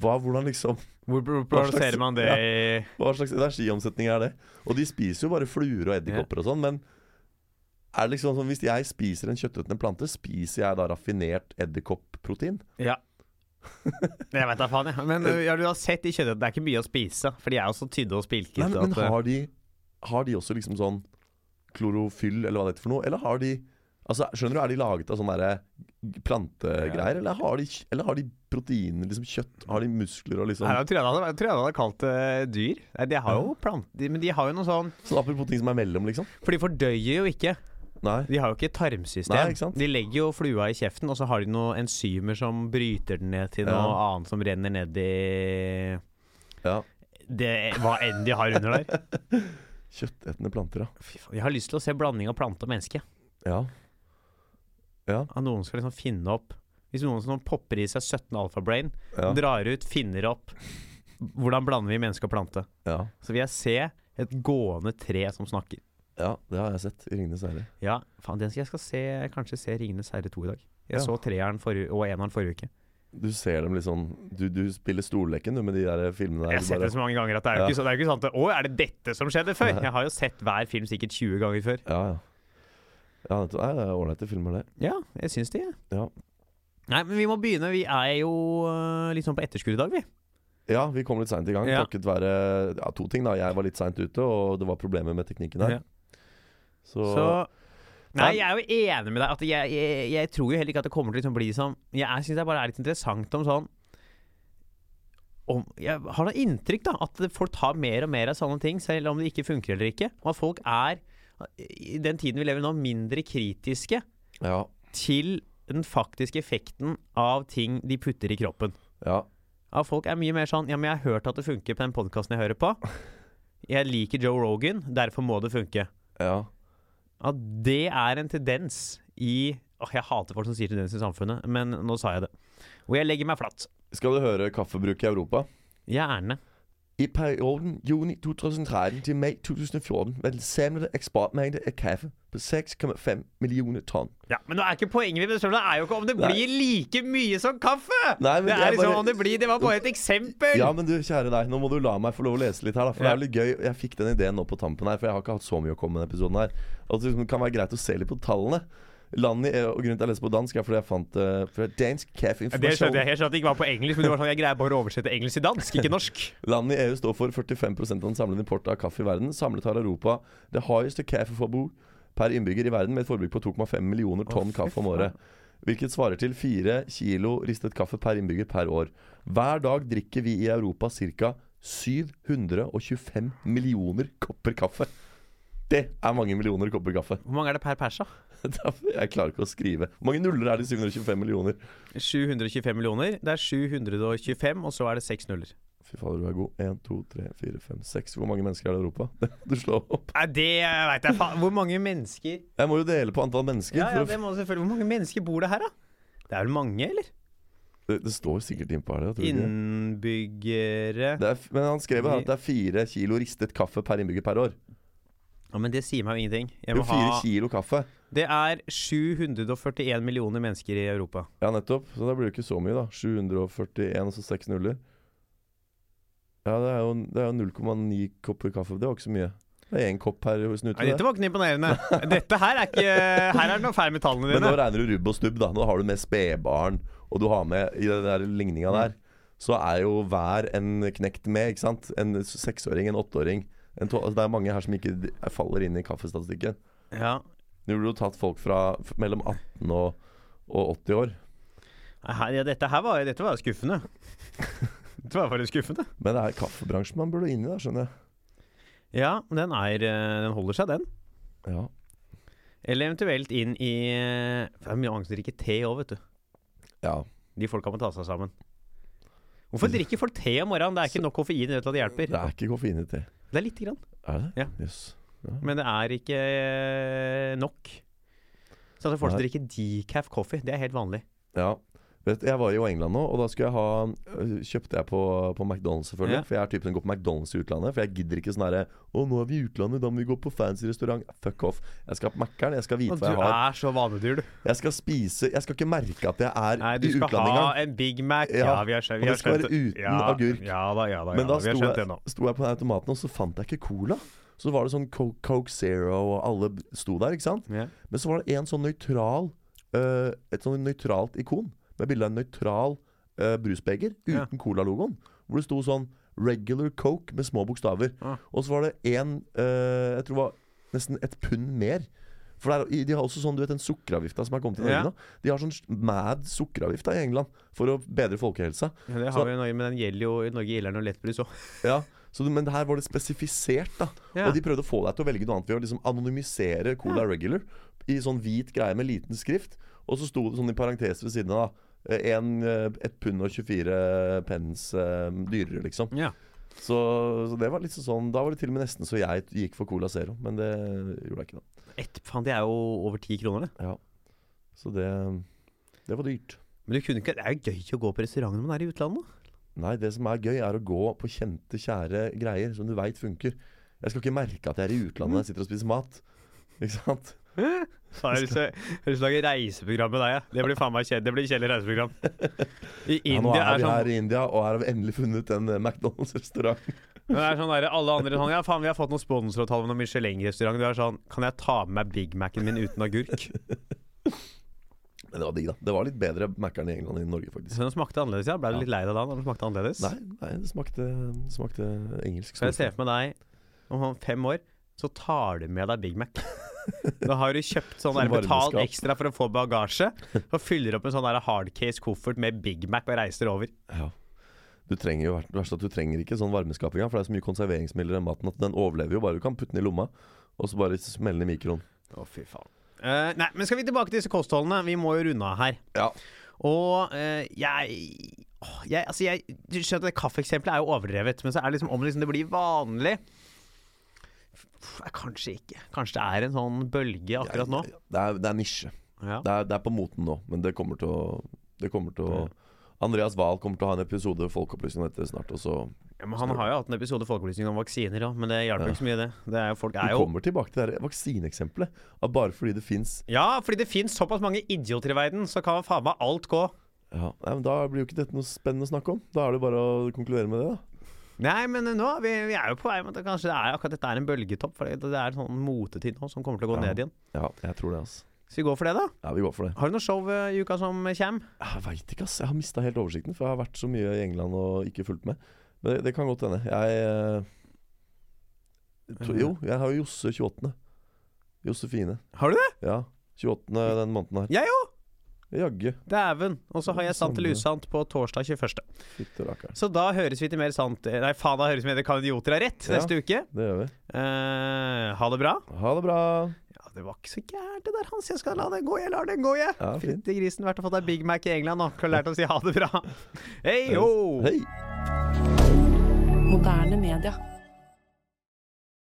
Speaker 3: hva, hvordan liksom,
Speaker 2: Hvor hvor
Speaker 3: Hva slags-
Speaker 2: plasserer man det
Speaker 3: ja.
Speaker 2: i
Speaker 3: hva slags energiomsetning er det? Og de spiser jo bare fluer og edderkopper og sånn, men er det liksom sånn, hvis jeg spiser en kjøttetende plante, spiser jeg da raffinert edderkoppprotein?
Speaker 2: Ja. Jeg veit da faen, jeg. Men
Speaker 3: Eh.
Speaker 2: ø, ja, du har sett i kjøttet at det er ikke mye å spise. For de er jo så tydde og spilkete.
Speaker 3: Nei, men, men
Speaker 2: at, eh, ø,
Speaker 3: har de, har de også liksom sånn klorofyll, eller hva det heter for noe? Eller har de Altså, skjønner du, Er de laget av sånne der plantegreier, eller, har de, eller har de proteiner, liksom kjøtt? Har de muskler og liksom
Speaker 2: Nei, jeg tror jeg det hadde, jeg tror jeg det hadde kalt det dyr. Nei, de har jo planter Men de har jo noe sånn
Speaker 3: Sånn apropos ting som er mellom, liksom?
Speaker 2: For de fordøyer jo ikke.
Speaker 3: Nei.
Speaker 2: De har jo ikke et tarmsystem.
Speaker 3: Nei, ikke sant?
Speaker 2: De legger jo flua i kjeften, og så har de noen enzymer som bryter den ned til noe
Speaker 3: Ja.
Speaker 2: annet som renner ned i
Speaker 3: Ja.
Speaker 2: det, hva enn de har under der.
Speaker 3: Kjøttetende planter, ja.
Speaker 2: Fy faen, Jeg har lyst til å se blanding av plante og menneske.
Speaker 3: ja.
Speaker 2: At noen skal liksom finne opp Hvis noen som popper i seg 17 alfabrain,
Speaker 3: Ja.
Speaker 2: drar ut, finner opp Hvordan blander vi menneske og plante?
Speaker 3: Ja.
Speaker 2: Så vil jeg se et gående tre som snakker.
Speaker 3: ja. Det har jeg sett i 'Ringenes herre'.
Speaker 2: Ja, faen, den skal jeg skal se, kanskje se 'Ringenes herre 2' i dag. Jeg
Speaker 3: Ja.
Speaker 2: så treeren forrige, og eneren forrige uke.
Speaker 3: Du ser dem litt sånn Du, du spiller stolleken, du, med de der filmene
Speaker 2: jeg
Speaker 3: der.
Speaker 2: har
Speaker 3: du
Speaker 2: sett
Speaker 3: bare-
Speaker 2: det så mange ganger at det er jo
Speaker 3: Ja.
Speaker 2: ikke, så- det er jo ikke sant at, Å, er det dette som skjedde før? Jeg har jo sett hver film sikkert 20 ganger før.
Speaker 3: Ja, ja. ja nettopp. Nei, det er ålreite filmer, det.
Speaker 2: Ja, jeg syns det. jeg.
Speaker 3: Ja.
Speaker 2: Nei, men vi må begynne. Vi er jo øh, litt sånn på etterskudd i dag, vi.
Speaker 3: Ja, vi kom litt seint i gang
Speaker 2: Ja.
Speaker 3: takket være ja, to ting. da Jeg var litt seint ute, og det var problemer med teknikken her.
Speaker 2: Ja.
Speaker 3: Så,
Speaker 2: Så Nei,
Speaker 3: Nei.
Speaker 2: jeg er jo enig med deg. At jeg, jeg, jeg tror jo heller ikke at det kommer til å liksom bli som Jeg er- synes det bare er litt interessant om sånn om, Jeg har noe inntrykk, da. At det- folk tar mer og mer av sånne ting, selv om det ikke funker eller ikke. Og at folk er, i den tiden vi lever i nå, mindre kritiske
Speaker 3: ja,
Speaker 2: til den faktiske effekten av ting de putter i kroppen.
Speaker 3: ja,
Speaker 2: Ja, folk er mye mer sånn Ja, men jeg har hørt at det funker på den podkasten jeg hører på. Jeg liker Joe Rogan, derfor må det funke.
Speaker 3: ja.
Speaker 2: Ja, det er en tendens i Åh, Jeg hater folk som sier tendens i samfunnet, men nå sa jeg det. Og jeg legger meg flatt.
Speaker 3: Skal du høre kaffebruk i Europa?
Speaker 2: Gjerne.
Speaker 3: I perioden juni 2013 til mai 2014 var den samlede eksportmengde av kaffe på 6,5 millioner tonn.
Speaker 2: Ja, Men nå er ikke poenget mitt med det, det er jo ikke om det
Speaker 3: Nei.
Speaker 2: blir like mye som kaffe!
Speaker 3: Nei, men
Speaker 2: det
Speaker 3: jeg
Speaker 2: er liksom
Speaker 3: bare-
Speaker 2: om det blir Det var bare et eksempel!
Speaker 3: Ja, men du, kjære deg, nå må du la meg få lov å lese litt her, da. For
Speaker 2: Ja.
Speaker 3: det er litt gøy. Jeg fikk den ideen nå på tampen her, for jeg har ikke hatt så mye å komme med i denne episoden her. Og det liksom kan være greit å se litt på tallene. Landet, i- og grunnen til at jeg leser på dansk, er fordi jeg fant eh, fra Dansk
Speaker 2: Det skjønte
Speaker 3: Kaffeinformasjon.
Speaker 2: jeg. Jeg skjønte at det ikke var på engelsk, men det var sånn jeg greier bare å oversette engelsk til dansk, ikke norsk.
Speaker 3: Landet i EU står for 45 av den samlede importen av kaffe i verden. Samlet har Europa det høyeste kaffeforbruk per innbygger i verden, med et forbruk på 2,5 millioner tonn kaffe om året. Hvilket svarer til 4 kilo ristet kaffe per innbygger per år. Hver dag drikker vi i Europa ca. 725 millioner kopper kaffe. Det er mange millioner kopper kaffe.
Speaker 2: Hvor mange er det per pers, da?
Speaker 3: Jeg klarer ikke å skrive. Hvor mange nuller er det i 725 millioner?
Speaker 2: 725 millioner. Det er 725, og så er det seks nuller.
Speaker 3: Fy fader, du er god. 1, 2, 3, 4, 5, 6 Hvor mange mennesker er det i Europa? Det må du slå opp.
Speaker 2: Nei, det veit jeg faen. Hvor mange mennesker
Speaker 3: Jeg må jo dele på antall mennesker.
Speaker 2: Ja, ja,
Speaker 3: for å
Speaker 2: det må selvfølgelig Hvor mange mennesker bor det her, da? Det er vel mange, eller?
Speaker 3: f- det, det står sikkert innpå her. Det, tror du ikke?
Speaker 2: Innbyggere
Speaker 3: det er, f- men han skrev her at det er fire kilo ristet kaffe per innbygger per år.
Speaker 2: Ja, Men det sier meg jo ingenting. Jeg
Speaker 3: Det
Speaker 2: må
Speaker 3: er fire
Speaker 2: ha
Speaker 3: kilo kaffe.
Speaker 2: Det er 741 millioner mennesker i Europa.
Speaker 3: Ja, nettopp. Så da blir det ikke så mye, da. 741 og så seks nuller. Ja, det er jo, det er jo 0,9 kopper kaffe. Det var ikke så mye. Det er én kopp per snute.
Speaker 2: Nei, dette
Speaker 3: det.
Speaker 2: var ikke noe imponerende. Dette her er ikke Her er det noe feil med tallene
Speaker 3: Men nå
Speaker 2: dine.
Speaker 3: regner du rubb og stubb, da. Nå har du med spedbarn, og du har med i den der ligninga der. Så er jo hver en knekt med, ikke sant. En seksåring, en åtteåring. En to altså, det er mange her som ikke d- faller inn i kaffestatistikken.
Speaker 2: Ja.
Speaker 3: Nå burde du tatt folk fra f- mellom 18 og, og 80 år.
Speaker 2: Her, ja, dette her var, dette var jo skuffende. Dette var faktisk skuffende.
Speaker 3: Men det er kaffebransjen man burde inn i, da, skjønner jeg.
Speaker 2: Ja, den er eh, Den holder seg, den.
Speaker 3: Ja.
Speaker 2: Eller eventuelt inn i eh, Det er mye angst å drikke te òg, vet du.
Speaker 3: ja.
Speaker 2: De folka må ta seg sammen. Hvorfor
Speaker 3: Mm.
Speaker 2: drikker folk te om morgenen? Det er ikke nok koffein i det til at det hjelper.
Speaker 3: Det er ikke koffein i te.
Speaker 2: Det er lite grann,
Speaker 3: Er det?
Speaker 2: Ja.
Speaker 3: Jøss.
Speaker 2: men det er ikke eh, nok. Så altså, folk som
Speaker 3: Nei.
Speaker 2: drikker decaf coffee, det er helt vanlig.
Speaker 3: Ja. Vet, du, jeg var jo i England nå, og da skulle jeg ha øh, kjøpte jeg på, på McDonald's. selvfølgelig
Speaker 2: Ja.
Speaker 3: For jeg er typen som går på McDonald's i utlandet. For jeg gidder ikke sånn herre Å, nå er vi i utlandet, da må vi gå på fancy restaurant. Fuck off. Jeg skal på Mækkern, jeg skal vite
Speaker 2: Og du
Speaker 3: hva jeg har.
Speaker 2: er så vanedyr, du.
Speaker 3: Jeg skal spise Jeg skal ikke merke at jeg er
Speaker 2: Nei, du
Speaker 3: i
Speaker 2: skal
Speaker 3: utlandet
Speaker 2: ha
Speaker 3: engang.
Speaker 2: en Big Mac. Ja,
Speaker 3: Ja,
Speaker 2: vi har skjønt,
Speaker 3: og
Speaker 2: vi har
Speaker 3: det skal
Speaker 2: skjønt
Speaker 3: være uten agurk.
Speaker 2: Ja da, ja da. Ja,
Speaker 3: Men da
Speaker 2: da vi
Speaker 3: sto
Speaker 2: har skjønt det
Speaker 3: jeg,
Speaker 2: nå.
Speaker 3: sto jeg på den automaten, og så fant jeg ikke cola. Så var det sånn Co- Coke Zero, og alle b- sto der, ikke sant.
Speaker 2: Ja.
Speaker 3: Men så var det en sånn nøytral eh, Et sånn nøytralt ikon Med bildet av en nøytral eh, brusbeger Uten
Speaker 2: Ja.
Speaker 3: cola-logoen Hvor det sto sånn Regular Coke med små bokstaver
Speaker 2: Ah.
Speaker 3: Og så var det en eh, Jeg tror det var nesten et pund mer For det er, de har også sånn, du vet, en sukkeravgifta Som har kommet til Norge
Speaker 2: Ja.
Speaker 3: nå De har sånn mad sukkeravgifta i England For å bedre folkehelsa
Speaker 2: Ja, det
Speaker 3: Så-
Speaker 2: har vi i Norge, men den gjelder jo i Norge gjelder den jo lettbrus òg.
Speaker 3: ja, så, du- men her var det spesifisert, da.
Speaker 2: Ja.
Speaker 3: Og de prøvde å få deg til å velge noe annet ved å liksom anonymisere Cola Regular i sånn hvit greie med liten skrift. Og så sto det sånn i parentes ved siden av. da, eh, En, eh, et pund og 24 pence eh, dyrere, liksom.
Speaker 2: Ja.
Speaker 3: Så, så det var liksom sånn Da var det til og med nesten så jeg gikk for Cola Zero. Men det gjorde jeg ikke, da.
Speaker 2: Ett, faen, det er jo over ti kroner, det.
Speaker 3: Ja. Så det Det var dyrt.
Speaker 2: Men du kunne ikke, det er jo gøy å gå på restaurant når man er i utlandet. da.
Speaker 3: Nei, det som er gøy, er å gå på kjente, kjære greier som du veit funker. Jeg skal ikke merke at jeg er i utlandet når jeg sitter og spiser mat. Ikke sant?
Speaker 2: Så har jeg lyst til- jeg har lyst til å lage reiseprogram med deg. jeg. Det blir faen meg kjedelig. Det blir kjedelig reiseprogram. I
Speaker 3: Ja, nå
Speaker 2: India er
Speaker 3: er vi
Speaker 2: sånn,
Speaker 3: her i India, og her har vi endelig funnet en eh, McDonald's-restaurant.
Speaker 2: det er sånn der, alle andre sånn Ja, faen, vi har fått noen sponsoravtale med noen Michelin-restaurant. Du er sånn Kan jeg ta med meg Big Mac-en min uten agurk?
Speaker 3: Men det var digg, da. Det var litt bedre Mækkern i England enn i Norge, faktisk.
Speaker 2: Så den smakte annerledes, ja. Ble du litt lei deg da når den smakte annerledes?
Speaker 3: Nei, nei det smakte, det smakte engelsk.
Speaker 2: Kan jeg se for meg deg om sånn fem år, så tar du med deg Big Mac. Da har du kjøpt sånn
Speaker 3: Som
Speaker 2: der betalt
Speaker 3: varmeskap.
Speaker 2: ekstra for å få bagasje, og fyller opp en sånn der hardcase koffert med Big Mac og reiser over.
Speaker 3: Ja. Du trenger jo, det verste er at du trenger ikke sånn varmeskap engang, for det er så mye konserveringsmidler i maten at den overlever jo bare. Du kan putte den i lomma, og så bare smelle den i mikroen.
Speaker 2: Å, fy faen. Eh, nei, men skal vi tilbake til disse kostholdene? Vi må jo runde av her.
Speaker 3: Ja.
Speaker 2: Og eh, jeg, åh, jeg, altså jeg Du skjønner at det kaffeeksempelet er jo overdrevet, men så er det liksom om liksom det blir vanlig Pff, Kanskje ikke. Kanskje det er en sånn bølge akkurat nå.
Speaker 3: Det er, det er nisje.
Speaker 2: Ja.
Speaker 3: Det er, det er på moten nå, men det kommer til å, det kommer til å Andreas Wahl kommer til å ha en episode folkeopplysning om dette snart. Og så
Speaker 2: Ja, men Han har jo hatt en episode folkeopplysning om vaksiner òg, men det hjalp jo ikke så mye, det. det er jo, folk er
Speaker 3: Vi
Speaker 2: jo
Speaker 3: kommer tilbake til det her vaksineeksempelet. at Bare fordi det fins
Speaker 2: Ja, fordi det fins såpass mange idioter i verden, så kan faen meg alt gå.
Speaker 3: ja, nei, men Da blir jo ikke dette noe spennende å snakke om. Da er det bare å konkludere med det, da.
Speaker 2: Nei, men nå er vi, vi er jo på vei med at det kanskje det er akkurat dette er en bølgetopp. For det er en sånn motetid nå som kommer til å gå
Speaker 3: Ja.
Speaker 2: ned igjen.
Speaker 3: Ja, jeg tror det, altså.
Speaker 2: Så vi går for det, da.
Speaker 3: Ja, vi går for det.
Speaker 2: Har du noe show eh, i uka som kommer?
Speaker 3: Jeg veit ikke, ass. Jeg har mista helt oversikten, for jeg har vært så mye i England og ikke fulgt med. Men det, det kan godt hende. Jeg eh, tro, Jo, jeg har jo Josse 28. Josefine.
Speaker 2: Har du det?
Speaker 3: Ja. 28. den måneden her.
Speaker 2: Jeg òg!
Speaker 3: Jaggu.
Speaker 2: Dæven. Og så har jeg Sant eller
Speaker 3: Samme.
Speaker 2: usant på torsdag 21.
Speaker 3: Fytti rakkeren.
Speaker 2: Så da høres vi til mer sant eh, Nei, faen, da høres vi til mer Kan idioter ha rett
Speaker 3: Ja.
Speaker 2: neste uke.
Speaker 3: Det gjør vi.
Speaker 2: Eh, ha det bra.
Speaker 3: Ha det bra.
Speaker 2: Ja, det var ikke så gærent, det der, Hans. Jeg skal la den gå, jeg lar den gå, jeg.
Speaker 3: Ja, fint.
Speaker 2: Fytti grisen, vært og fått deg Big Mac i England nå. Kunne lært å si ha det bra. Hei ho!
Speaker 3: Hei.
Speaker 4: Moderne media.